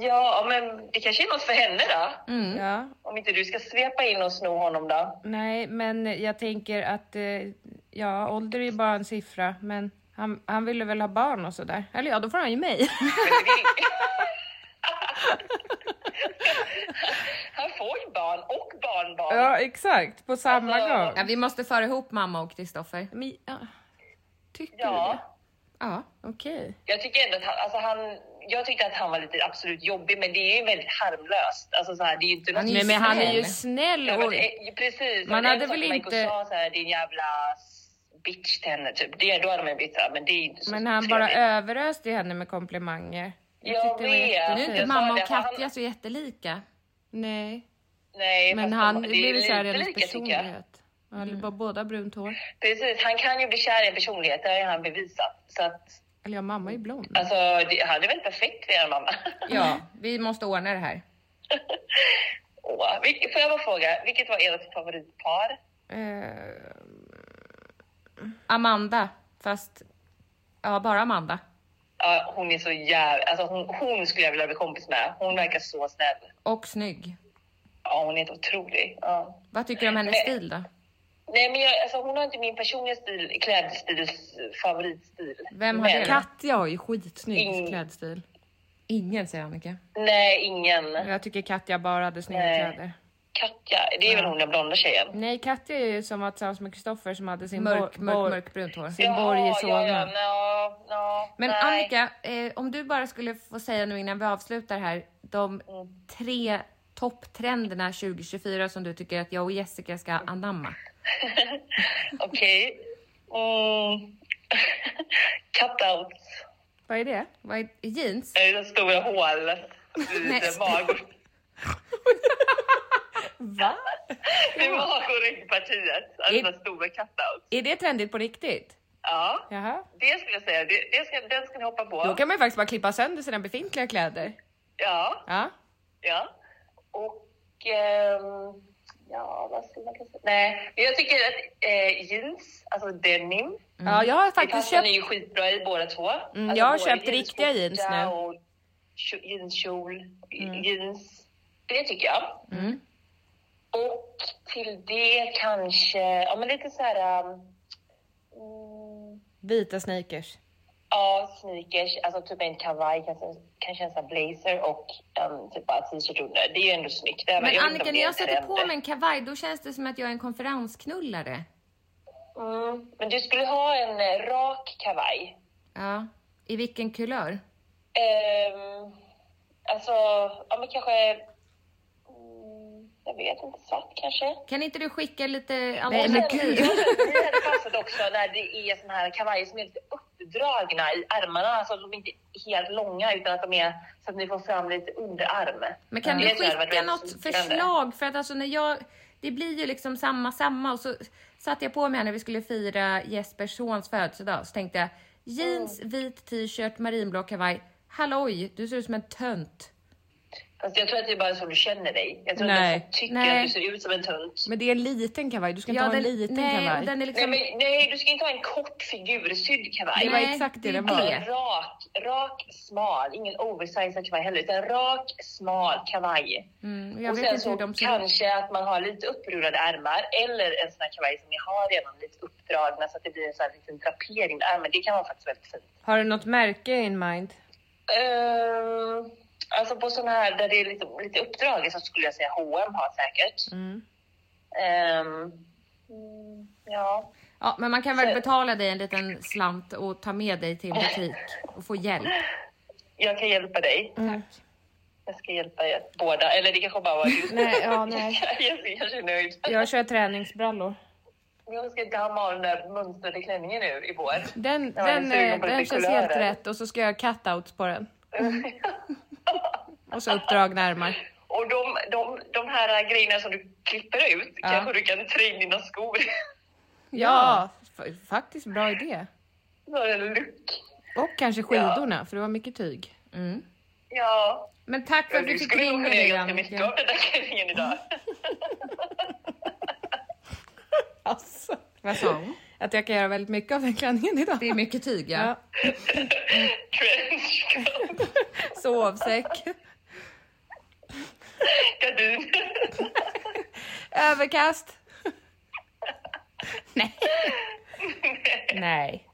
Speaker 3: Ja, men det kanske är något för henne då?
Speaker 2: Ja.
Speaker 3: Om inte du ska svepa in och sno honom då?
Speaker 2: Nej, men jag tänker att eh, ja, ålder är ju bara en siffra, men han, han ville väl ha barn och sådär. Eller ja, då får han ju mig.
Speaker 3: Men det vill- han får ju barn och barnbarn.
Speaker 2: ja, exakt. På samma
Speaker 3: Alltså-
Speaker 2: gång.
Speaker 1: Ja, vi måste föra ihop mamma och Kristoffer.
Speaker 2: Men, ja. Tycker
Speaker 3: ja.
Speaker 1: Ja.
Speaker 2: du det? Okej.
Speaker 3: Jag tycker ändå att han, alltså han, jag tyckte att han var lite absolut jobbig, men det är ju väldigt harmlöst. Alltså så här, det är ju inte
Speaker 1: Han är ju
Speaker 2: Nej, men han är ju
Speaker 1: snäll.
Speaker 2: snäll
Speaker 3: Ja,
Speaker 2: och...
Speaker 3: men, eh, precis.
Speaker 2: Man
Speaker 3: Det är
Speaker 2: hade
Speaker 3: en sak
Speaker 2: väl
Speaker 3: man gick och
Speaker 2: inte-
Speaker 3: sa så här, din jävla s- bitch till henne, typ. Det, då hade man ju blivit så här, men det är ju inte så
Speaker 2: Men han bara överöste ju henne med komplimanger.
Speaker 3: Jag
Speaker 2: det var
Speaker 3: vet.
Speaker 1: Nu är inte
Speaker 3: Jag sa
Speaker 1: mamma och
Speaker 3: det, han-
Speaker 1: Katja så jättelika.
Speaker 2: Nej,
Speaker 3: Nej,
Speaker 2: men
Speaker 3: fast
Speaker 2: han
Speaker 3: det är
Speaker 2: blev ju
Speaker 3: lite
Speaker 2: kär i hennes
Speaker 3: lika, tycker jag.
Speaker 2: personlighet. Han hade bara båda brunt hår.
Speaker 3: Precis, han kan ju bli kär i en personlighet, det har ju han bevisat. Så att,
Speaker 2: Eller ja, mamma är ju blond.
Speaker 3: alltså, det, han är väl perfekt för er mamma.
Speaker 1: Ja, vi måste ordna det här.
Speaker 3: Åh, vil- får jag bara fråga, vilket var ert favoritpar?
Speaker 2: Eh,
Speaker 1: Amanda, fast... Ja, bara Amanda.
Speaker 3: Ja, hon är så jävla... Alltså hon, hon skulle jag vilja bli kompis med. Hon verkar så snäll.
Speaker 1: Och snygg.
Speaker 3: Ja, hon är helt otrolig. Ja.
Speaker 1: Vad tycker du om hennes stil då?
Speaker 3: Nej, men jag, alltså, hon har inte min personliga stil, klädstils favoritstil.
Speaker 1: Vem har
Speaker 3: men,
Speaker 1: det?
Speaker 2: Katja har ju skitsnygg
Speaker 3: Mm.
Speaker 2: klädstil.
Speaker 1: Ingen, säger Annika.
Speaker 3: Nej, ingen.
Speaker 2: Jag tycker Katja bara hade snygga
Speaker 3: Nej.
Speaker 2: kläder.
Speaker 3: Katja, det är väl hon den blonda tjejen?
Speaker 2: Nej, Katja är ju som var tillsammans med Kristoffer som hade sin
Speaker 1: Mörk,
Speaker 2: bor- bor-
Speaker 1: mörk, mörkbrunt hår.
Speaker 2: sin borg i Solna.
Speaker 3: ja, ja, ja, ja,
Speaker 1: Men
Speaker 3: nej.
Speaker 1: Annika, eh, om du bara skulle få säga nu innan vi avslutar här, de
Speaker 3: Mm.
Speaker 1: tre topptrenderna 2024 som du tycker att jag och Jessica ska anamma.
Speaker 3: Okej. Mm. Cutouts.
Speaker 2: Vad är det?
Speaker 1: Vad är jeans?
Speaker 3: Det är det stora hålet
Speaker 1: Nej.
Speaker 3: i mag-
Speaker 2: Va?
Speaker 3: i mag och ryggpartiet. Alltså stora cutouts.
Speaker 2: Är det trendigt på riktigt?
Speaker 3: Ja.
Speaker 2: Jaha.
Speaker 3: Det skulle jag säga. Det, det ska, den ska ni hoppa på.
Speaker 2: Då kan man ju faktiskt bara klippa sönder sina befintliga kläder.
Speaker 3: Ja,
Speaker 2: Ja.
Speaker 3: ja. Och... ehm, ja, vad skulle man kunna säga? Nej, men jag tycker att eh, jeans, alltså denim,
Speaker 2: ja, jag har
Speaker 3: det
Speaker 2: faktiskt
Speaker 3: passar
Speaker 2: köpt...
Speaker 3: ni ju skitbra i båda två.
Speaker 2: Mm,
Speaker 3: alltså,
Speaker 2: jag har
Speaker 3: både
Speaker 2: köpt riktiga jeans
Speaker 3: skjorta
Speaker 2: nu. Mm.
Speaker 3: Och tjo- jeanskjol, jeans. Det tycker jag. Och till det kanske, ja men lite så här... ehm, um, mm,
Speaker 2: Vita sneakers.
Speaker 3: Ja, sneakers, alltså typ en kavaj, kanske, kanske en sån här blazer och um, typ bara t-shirt under. Det är ju ändå snyggt. Det här-
Speaker 1: Men
Speaker 3: vet inte om
Speaker 1: Annika,
Speaker 3: det
Speaker 1: när
Speaker 3: är
Speaker 1: jag
Speaker 3: en
Speaker 1: sätter på
Speaker 3: trend.
Speaker 1: mig en kavaj, då känns det som att jag är en konferensknullare.
Speaker 3: Mm, men du skulle ha en eh, rak kavaj.
Speaker 1: Ja. I vilken kulör?
Speaker 3: Ehm, alltså, ja men kanske... Mm, jag vet inte, svart kanske?
Speaker 1: Kan inte du skicka lite Mm.
Speaker 3: Och sen-
Speaker 1: alternativ?
Speaker 3: Det hade passat också när det är såna här kavajer som är lite uppdragna i ärmarna, alltså de är inte helt långa utan att de är så att ni får fram lite underarm.
Speaker 1: Men kan
Speaker 3: Det
Speaker 1: du
Speaker 3: tror jag hade varit
Speaker 1: skicka
Speaker 3: väldigt
Speaker 1: något
Speaker 3: smickrande.
Speaker 1: förslag? För att alltså när jag, det blir ju liksom samma, samma och så satte jag på mig här när vi skulle fira Jespers sons födelsedag så tänkte jag jeans, vit t-shirt, marinblå kavaj. Halloj, du ser ut som en tönt.
Speaker 3: Fast jag tror att det är bara så du känner dig. Jag tror
Speaker 2: Nej.
Speaker 3: inte att du tycker
Speaker 1: Nej.
Speaker 3: att du ser ut som en tunt.
Speaker 2: Men det är en liten kavaj, du ska inte ha en liten
Speaker 1: nej,
Speaker 2: kavaj.
Speaker 1: och den är
Speaker 3: Nej,
Speaker 1: liksom...
Speaker 3: men, nej, du ska inte ha en kort figursydd kavaj.
Speaker 2: Det var
Speaker 1: Nej,
Speaker 2: exakt det
Speaker 1: det är
Speaker 2: den var.
Speaker 1: det.
Speaker 3: Alltså, rak, rak, smal. Ingen oversized kavaj heller, utan rak, smal kavaj.
Speaker 1: Mm, jag
Speaker 3: och
Speaker 1: vet
Speaker 3: sen
Speaker 1: inte
Speaker 3: så
Speaker 1: hur de ser ut.
Speaker 3: kanske att man har lite upprulade ärmar eller en sån här kavaj som ni har redan lite uppdragna så att det blir en sån här liten drapering där. Men det kan vara faktiskt väldigt fint.
Speaker 2: Har du något märke in mind?
Speaker 3: Ehm, alltså på sådana här där det är lite, lite uppdraget så skulle jag säga H&M har säkert.
Speaker 1: Mm.
Speaker 3: Ehm, mm, ja.
Speaker 1: Ja, men man kan väl betala dig en liten slant och ta med dig till en butik och få hjälp.
Speaker 3: Jag kan hjälpa dig.
Speaker 2: Tack.
Speaker 3: Jag ska hjälpa er båda. Eller det kanske bara var du.
Speaker 2: Nej, ja, nej.
Speaker 3: Jessica kanske är nöjd.
Speaker 2: Jag kör träningsbrallor.
Speaker 3: Jag ska damma av den där mönstrade klänningen nu i vår.
Speaker 2: Den,
Speaker 3: Ja,
Speaker 2: den,
Speaker 3: jag är sugen
Speaker 2: eh,
Speaker 3: på lite
Speaker 2: den känns
Speaker 3: kulörer.
Speaker 2: helt rätt och så ska jag göra cutouts på den. Och så uppdragna ärmar.
Speaker 3: Och de, de, de här grejerna som du klipper ut kanske du kan trä in i dina skor.
Speaker 2: Ja, fa- faktiskt bra idé.
Speaker 3: Så har du en look.
Speaker 2: Och kanske skidorna, för det var mycket tyg.
Speaker 3: Ja,
Speaker 1: Men tack för att du
Speaker 3: du
Speaker 1: fick
Speaker 3: skulle nog
Speaker 1: ringa
Speaker 3: kunna göra
Speaker 1: dig
Speaker 3: ganska mycket
Speaker 1: Annika. Mm.
Speaker 3: av den där klänningen idag.
Speaker 2: Alltså,
Speaker 1: Vad sa hon?
Speaker 2: att jag kan göra väldigt mycket av den klänningen idag.
Speaker 1: Det är mycket tyg ja.
Speaker 2: Ja.
Speaker 3: Trenchcoat,
Speaker 2: Sovsäck,
Speaker 3: gardin.
Speaker 2: överkast. Nej. Nej.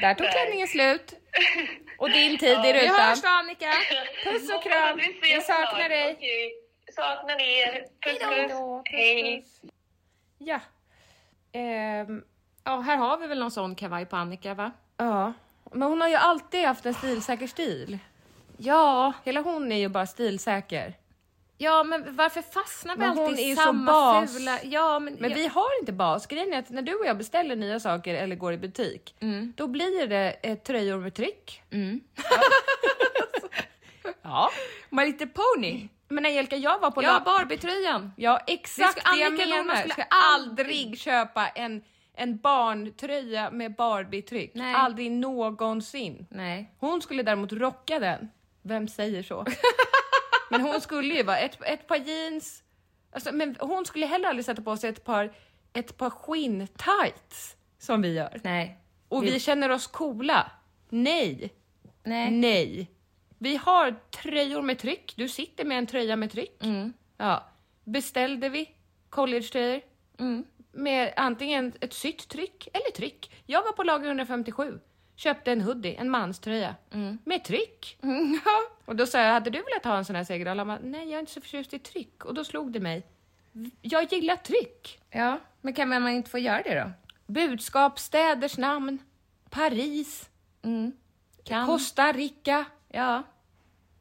Speaker 2: Där tog klänningen slut. Och din tid i
Speaker 1: Vi
Speaker 2: rutan.
Speaker 1: hörs då Annika!
Speaker 2: Puss och kram!
Speaker 3: Vi ses
Speaker 2: Vi saknar
Speaker 3: snart.
Speaker 2: dig.
Speaker 3: Okej, Saknar er. Puss, puss. Hej.
Speaker 2: Ja. Ehm,
Speaker 1: Ja, här har vi väl någon sån kavaj på Annika va?
Speaker 2: ja. Men hon har ju alltid haft en stilsäker stil. Ja, hela hon är ju bara stilsäker.
Speaker 1: Ja, men varför fastnar vi
Speaker 2: Men
Speaker 1: alltid
Speaker 2: hon är
Speaker 1: i
Speaker 2: ju så
Speaker 1: samma
Speaker 2: bas.
Speaker 1: fula... Ja, men...
Speaker 2: Men
Speaker 1: ja.
Speaker 2: vi har inte bas. Grejen är att när du och jag beställer nya saker eller går i butik,
Speaker 1: Mm.
Speaker 2: då blir det eh, tröjor med tryck. Ja. ja.
Speaker 1: My Little Pony!
Speaker 2: Men Angelica, jag var på
Speaker 1: Ja,
Speaker 2: la-
Speaker 1: Barbie-tröjan!
Speaker 2: Ja, exakt
Speaker 1: Det
Speaker 2: det,
Speaker 1: ska-
Speaker 2: jag
Speaker 1: Annika
Speaker 2: menar.
Speaker 1: Norman
Speaker 2: Man
Speaker 1: skulle
Speaker 2: skulle aldrig köpa en, en barntröja med Barbie-tryck.
Speaker 1: Nej.
Speaker 2: Aldrig någonsin.
Speaker 1: Nej.
Speaker 2: Hon skulle däremot rocka den. Vem säger så? men hon skulle ju vara ett, ett par jeans. Alltså, men hon skulle heller aldrig sätta på sig ett par, ett par skinn-tights som vi gör.
Speaker 1: Nej.
Speaker 2: Och vi känner oss coola. Nej,
Speaker 1: Nej.
Speaker 2: nej. Vi har tröjor med tryck. Du sitter med en tröja med tryck. Ja. Beställde vi collegetröjor med antingen ett sytt tryck eller tryck. Jag var på lager 157, köpte en hoodie, en manströja med tryck. Och då sa jag, hade du velat ha en sån här Segerdal? Han bara, nej jag är inte så förtjust i tryck. Och då slog det mig, jag gillar tryck.
Speaker 1: Ja, men kan man inte få göra det då?
Speaker 2: Budskap, städers namn, Paris,
Speaker 1: Kan.
Speaker 2: Costa Rica.
Speaker 1: Ja.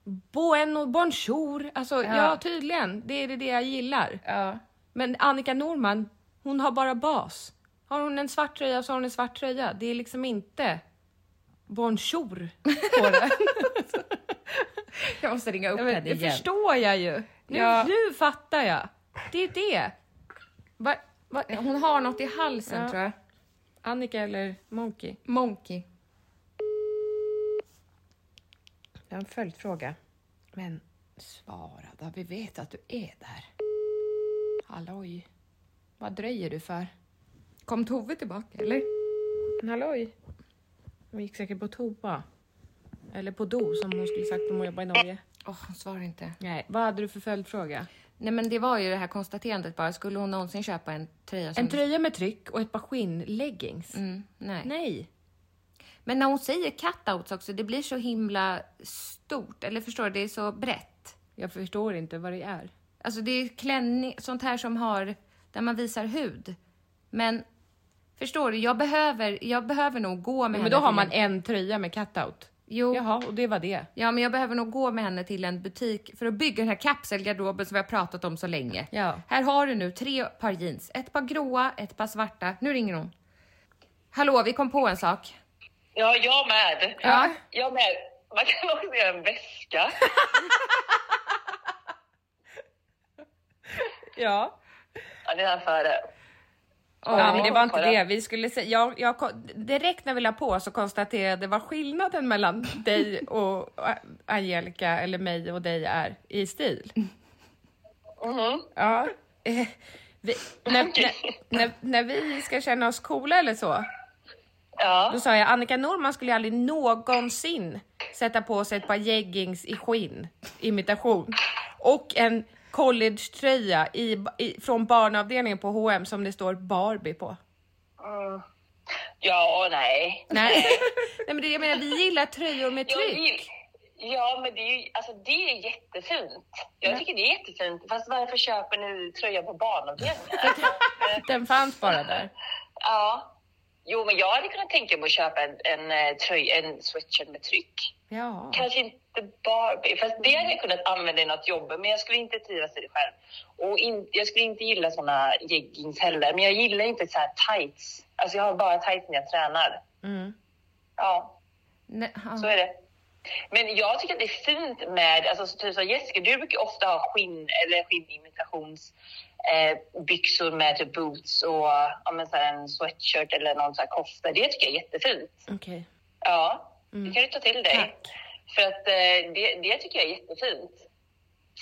Speaker 2: Bueno, bonjour. Alltså, ja. tydligen. Det är det- det jag gillar.
Speaker 1: Ja.
Speaker 2: Men Annika Norman, hon har bara bas. Har hon en svart tröja så har hon en svart tröja. Det är liksom inte bonjour på den.
Speaker 1: Jag måste ringa upp
Speaker 2: Jag vet,
Speaker 1: henne
Speaker 2: det
Speaker 1: igen.
Speaker 2: förstår jag ju. Nu,
Speaker 1: Ja.
Speaker 2: nu fattar jag. Det är det. Va, va,
Speaker 1: Hon har något i halsen
Speaker 2: Ja.
Speaker 1: tror jag.
Speaker 2: Annika eller Monkey?
Speaker 1: Monkey.
Speaker 2: Jag har en följdfråga. Men svara då, vi vet att du är där. Halloj. Vad dröjer du för?
Speaker 1: Kom Tove tillbaka eller?
Speaker 2: Men halloj. Hon gick säkert på toa. Eller på do som hon skulle sagt om hon jobbar i Norge.
Speaker 1: Åh, hon svarar inte.
Speaker 2: Nej, vad hade du för följdfråga?
Speaker 1: Nej men det var ju det här konstaterandet bara. Skulle hon någonsin köpa en tröja som...
Speaker 2: En tröja med tryck och ett par skinnleggings.
Speaker 1: Mm, nej.
Speaker 2: Nej.
Speaker 1: Men när hon säger cutouts också, det blir så himla stort. Eller förstår du? Det är så brett.
Speaker 4: Jag förstår inte vad det är.
Speaker 1: Alltså det är klänning, sånt här som har, där man visar hud. Men förstår du? Jag behöver, jag behöver nog gå med
Speaker 4: Men,
Speaker 1: henne.
Speaker 4: då har
Speaker 1: till
Speaker 4: man
Speaker 1: en-
Speaker 4: en tröja med cutout.
Speaker 1: Jo.
Speaker 4: Jaha, och det var det.
Speaker 1: Ja, men jag behöver nog gå med henne till en butik för att bygga den här kapselgarderoben som vi har pratat om så länge.
Speaker 4: Ja.
Speaker 1: Här har du nu tre par jeans. Ett par gråa, ett par svarta. Nu ringer hon. Hallå, vi kom på en sak.
Speaker 3: Ja, jag med.
Speaker 1: Ja.
Speaker 3: Jag med. Man kan också göra en väska.
Speaker 4: Ja.
Speaker 3: Ja, det är före.
Speaker 4: ja, men det var inte det. Vi skulle se, jag, jag, kon- direkt när vi la på så konstaterade vad skillnaden mellan dig och A- Angelica, eller mig och dig, är i stil. Ja. Eh, Vi, när, när, när, när vi ska känna oss coola eller så,
Speaker 3: Ja.
Speaker 4: då sa jag Annika Norman skulle ju aldrig någonsin sätta på sig ett par jeggings i skinn, imitation, och en collegetröja i, i, från barnavdelningen på H&M som det står Barbie på.
Speaker 3: Mm. Ja, nej.
Speaker 4: Nej. Nej men det, jag menar vi gillar tröjor med
Speaker 3: Jag vill,
Speaker 4: tryck.
Speaker 3: ja, men det är ju alltså, det är jättefint. Jag tycker det är jättefint. Fast varför köper ni tröja på barnavdelningen?
Speaker 4: Den fanns bara där.
Speaker 3: ja. Jo, men jag hade kunnat tänka mig att köpa en, en, eh, tröja, en sweatshirt med tryck.
Speaker 4: Ja.
Speaker 3: Kanske inte Barbie, fast det hade jag kunnat använda i något jobb, men jag skulle inte trivas i det själv. Och in, jag skulle inte gilla såna jeggings heller, men jag gillar inte så här tights. Alltså jag har bara tights när jag tränar. Ja,
Speaker 1: Nej, ja.
Speaker 3: så är det. Men jag tycker att det är fint med, alltså så typ som Jessica, du brukar ju ofta ha skinn eller skinnimitations eh, byxor med typ boots och ja, men så här en sweatshirt eller någon så här kofta. Det tycker jag är jättefint.
Speaker 4: Okej.
Speaker 3: Ja, det kan du ta till dig. För att eh, det, det tycker jag är jättefint.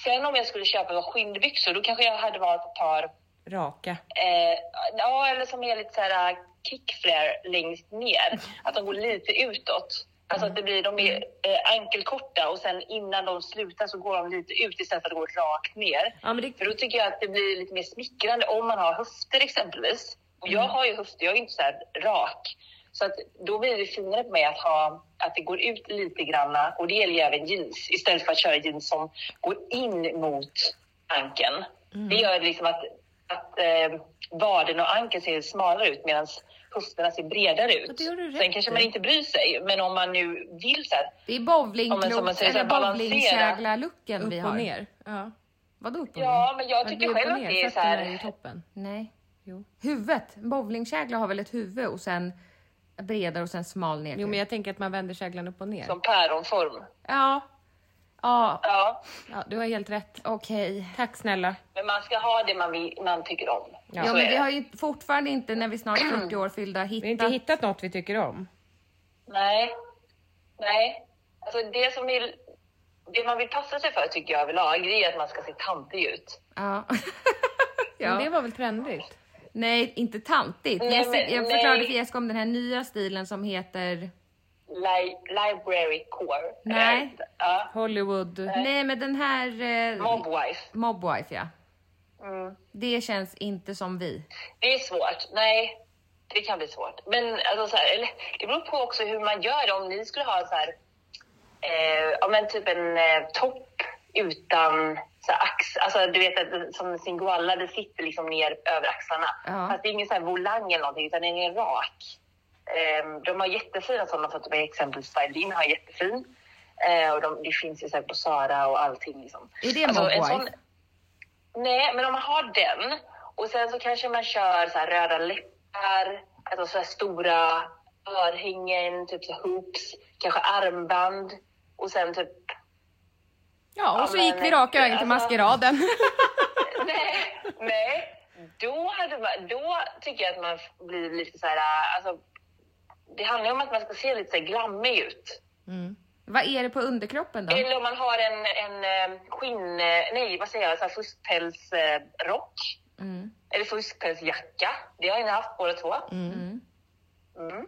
Speaker 3: Sen om jag skulle köpa några skinnbyxor, då kanske jag hade valt ett par,
Speaker 4: Raka.
Speaker 3: eh, ja eller som är lite så här eh, kickflare längst ner. Att de går lite utåt. Alltså att det blir, de är eh, ankelkorta och sen innan de slutar så går de lite ut istället för att gå rakt ner.
Speaker 4: Ja, men det-
Speaker 3: För då tycker jag att det blir lite mer smickrande om man har höfter exempelvis. Och jag har ju höfter, jag är inte så här rak. Så att då blir det finare på mig att, ha, att det går ut lite granna och det gäller ju även jeans istället för att köra jeans som går in mot ankeln. Det gör liksom att, att eh, vaden och ankeln ser smalare ut medan höfterna ser bredare ut.
Speaker 4: det gör du rätt
Speaker 3: Sen kanske man
Speaker 4: i.
Speaker 3: inte bryr sig, men om man nu vill så här,
Speaker 1: Det är
Speaker 3: Ja, men som
Speaker 1: bowlingklot
Speaker 3: man säger,
Speaker 1: eller
Speaker 3: så här, balansera.
Speaker 1: bowlingkägla-looken vi
Speaker 4: Upp
Speaker 1: har.
Speaker 4: och ner. Ja.
Speaker 1: Vadå upp och
Speaker 3: ja
Speaker 1: ner?
Speaker 3: men jag
Speaker 4: Men
Speaker 3: tycker
Speaker 4: upp och
Speaker 3: själv att
Speaker 4: ner.
Speaker 3: det är så
Speaker 4: Fötterna
Speaker 3: här
Speaker 4: ju toppen.
Speaker 1: Nej. Jo. Huvudet. En Bowlingkägla har väl ett huvud och sen bredare och sen smal ner.
Speaker 4: Jo men jag tänker att man vänder käglan upp och ner.
Speaker 3: som päronform.
Speaker 1: Ja. Ja,
Speaker 3: Ja.
Speaker 4: Ja, du har helt rätt.
Speaker 1: okej.
Speaker 4: Tack snälla.
Speaker 3: Men man ska ha det man, vill, man tycker om.
Speaker 4: Ja.
Speaker 1: Ja,
Speaker 3: Så
Speaker 1: men
Speaker 3: är
Speaker 1: vi
Speaker 3: det.
Speaker 1: har ju fortfarande inte, när vi snart 40 år fyllda,
Speaker 4: Vi har inte
Speaker 1: hittat...
Speaker 4: hittat något vi tycker om.
Speaker 3: Nej. Nej. Alltså det som vill, det man vill passa sig för tycker jag överlag det är att man ska se tantig ut.
Speaker 1: Ja.
Speaker 4: Ja. Men det
Speaker 1: ja.
Speaker 4: var väl trendigt?
Speaker 1: Nej, inte tantigt.
Speaker 3: Nej,
Speaker 1: jag se-
Speaker 3: men-
Speaker 1: jag
Speaker 3: nej.
Speaker 1: förklarade för Jessica om den här nya stilen som heter...
Speaker 3: Li, library core.
Speaker 1: Nej.
Speaker 3: Eh, Ja.
Speaker 4: Hollywood.
Speaker 1: Nej, men den här... Eh,
Speaker 3: Mobwife.
Speaker 1: Mobwife, ja.
Speaker 3: Mm.
Speaker 1: Det känns inte som vi.
Speaker 3: Det är svårt. Nej, det kan bli svårt. Men alltså, så här, eller, det beror på också hur man gör det. Om ni skulle ha så här, eh, ja, men typ en eh, topp utan så här, ax, alltså du vet att det- som en singoalla, det sitter liksom ner över axlarna.
Speaker 1: Ja.
Speaker 3: Fast det är ingen så här volang eller någonting, utan den är rak. Eh, de har jättefina sådana, för att de är exempel Stylin har jättefin. Eh, och de, det finns ju så här på Sara och allting liksom.
Speaker 1: Är det
Speaker 3: en
Speaker 1: Mobwife?
Speaker 3: sån- Nej, men om man har den och sen så kanske man kör så här röda läppar, alltså så här stora örhängen, typ så här hoops, kanske armband och sen typ...
Speaker 4: Ja, och så gick
Speaker 3: men-
Speaker 4: vi raka vägen till
Speaker 3: alltså-
Speaker 4: maskeraden.
Speaker 3: Nej, nej. Då, hade man, då tycker jag att man blir lite så här... Alltså, det handlar ju om att man ska se lite så här glammig ut.
Speaker 1: Vad är det på underkroppen då?
Speaker 3: Eller om man har en, en eh, skinn... Nej, vad säger jag? Så här fuskpälsrock. Eller fuskpälsjacka. Det har ni haft båda två. Eller om, man,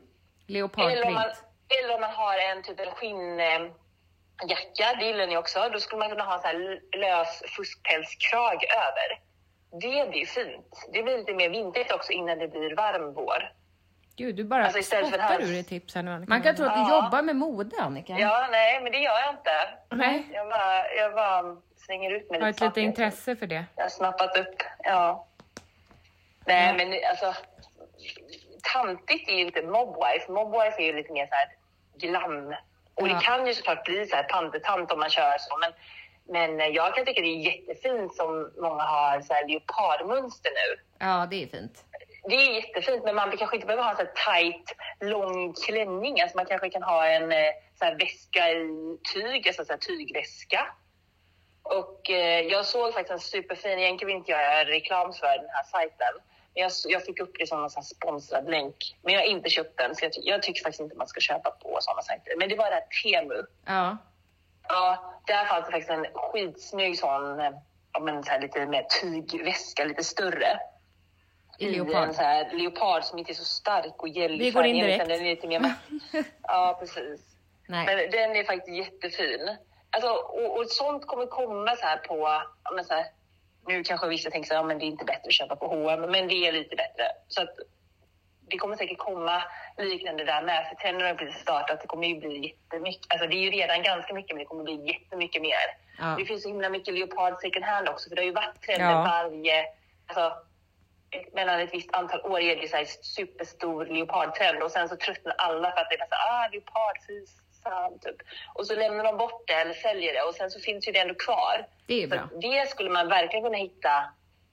Speaker 1: Leopardprint.
Speaker 3: eller om man har en typ en skinnjacka, det gillar ni också. Då skulle man kunna ha en så här lös fuskpälskrag över. Det blir fint. Det blir lite mer vintrigt också innan det blir varm vår.
Speaker 4: Gud, du bara
Speaker 3: Alltså, istället för
Speaker 4: spottar
Speaker 3: hals.
Speaker 4: ur dig tips här nu Annika.
Speaker 1: Man kan tro att du
Speaker 3: Ja.
Speaker 1: jobbar med mode, Annika.
Speaker 3: Ja, nej, men det gör jag inte.
Speaker 4: Nej.
Speaker 3: Jag bara, jag bara slänger ut mig
Speaker 4: Har ett
Speaker 3: snabbt.
Speaker 4: lite intresse för det.
Speaker 3: Jag har snappat upp, ja. Nej, men alltså... Tantigt är ju inte mobwife. Mobwife är ju lite mer så här glam. Och det kan ju såklart bli så här tantetant om man kör så. Men, men jag kan tycka det är jättefint som många har så här leopardmönster nu.
Speaker 1: Ja, det är fint.
Speaker 3: Det är jättefint, men man kanske inte behöver ha en så här tight, lång klänning. Alltså man kanske kan ha en eh, så här väska i tyg, alltså en så här tygväska. Och eh, jag såg faktiskt en superfin, egentligen vill inte jag göra reklam för den här sajten, men jag, s- jag fick upp det som en sån här sponsrad länk. Men jag har inte köpt den, så jag, ty- jag tycker faktiskt inte man ska köpa på sådana sajter. Men det var det här Temu.
Speaker 1: Ja.
Speaker 3: Ja, där fanns det faktiskt en skitsnygg sån, eh, ja, men så här lite mer tygväska, lite större.
Speaker 1: I
Speaker 3: En
Speaker 1: leopard.
Speaker 3: så här leopard som inte är så stark och gällig.
Speaker 4: Vi går in direkt.
Speaker 3: Den är lite mer matt. ja, precis.
Speaker 1: Nej.
Speaker 3: Men den är faktiskt jättefin. Alltså, och, och sånt kommer komma så här på... ja, Men så här, nu kanske vissa tänker så här, ja, men det är inte bättre att köpa på H&M, men det är lite bättre. Så att, det kommer säkert komma liknande där med. För trenden har ju precis startat. Det kommer ju bli jättemycket. Alltså det är ju redan ganska mycket, men det kommer bli jättemycket mer.
Speaker 1: Ja.
Speaker 3: Det finns så himla mycket leopard second hand också, för det har ju varit trender
Speaker 4: Ja.
Speaker 3: varje... Alltså, ett- mellan ett visst antal år är det ju så här superstor leopardtrend och sen så tröttnar alla för att det är bara så här, ah, leopard, fy fan, typ. Och så lämnar de bort det eller säljer det och sen så finns ju det ändå kvar.
Speaker 1: Det är bra.
Speaker 3: Så det skulle man verkligen kunna hitta,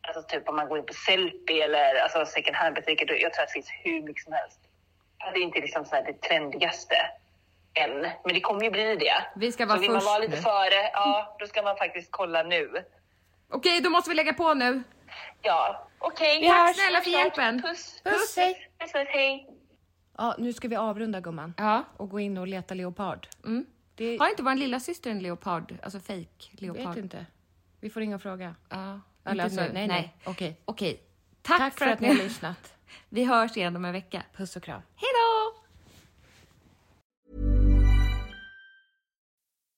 Speaker 3: alltså typ om man går in på Sellpy eller alltså second hand-butiker, då- jag tror att det finns hur mycket som helst. Att Det är inte liksom så här det trendigaste än, men det kommer ju bli det.
Speaker 1: Vi ska vara
Speaker 3: så vill man
Speaker 1: först
Speaker 3: vara
Speaker 1: nu.
Speaker 3: lite före, ja, då ska man faktiskt kolla nu.
Speaker 1: Okej, då måste vi lägga på nu.
Speaker 3: Ja, okej.
Speaker 4: Vi hörs.
Speaker 3: Tack snälla för hjälpen. Puss.
Speaker 4: Puss, hej.
Speaker 3: Puss, puss, hej.
Speaker 4: Ja, nu ska vi avrunda gumman
Speaker 1: Ja. Mm.
Speaker 4: och gå in och leta leopard. Det
Speaker 1: Har inte vår lilla syster en leopard? Alltså fake
Speaker 4: vet
Speaker 1: leopard?
Speaker 4: inte. Vi får ringa och fråga.
Speaker 1: Ja.
Speaker 4: Eller
Speaker 1: Inte
Speaker 4: alltså,
Speaker 1: nu.
Speaker 4: nej, nej. Okej.
Speaker 1: Okej. Tack,
Speaker 4: Tack för att ni har lyssnat.
Speaker 1: Vi hörs igen om en vecka.
Speaker 4: Puss och kram.
Speaker 1: Hej då!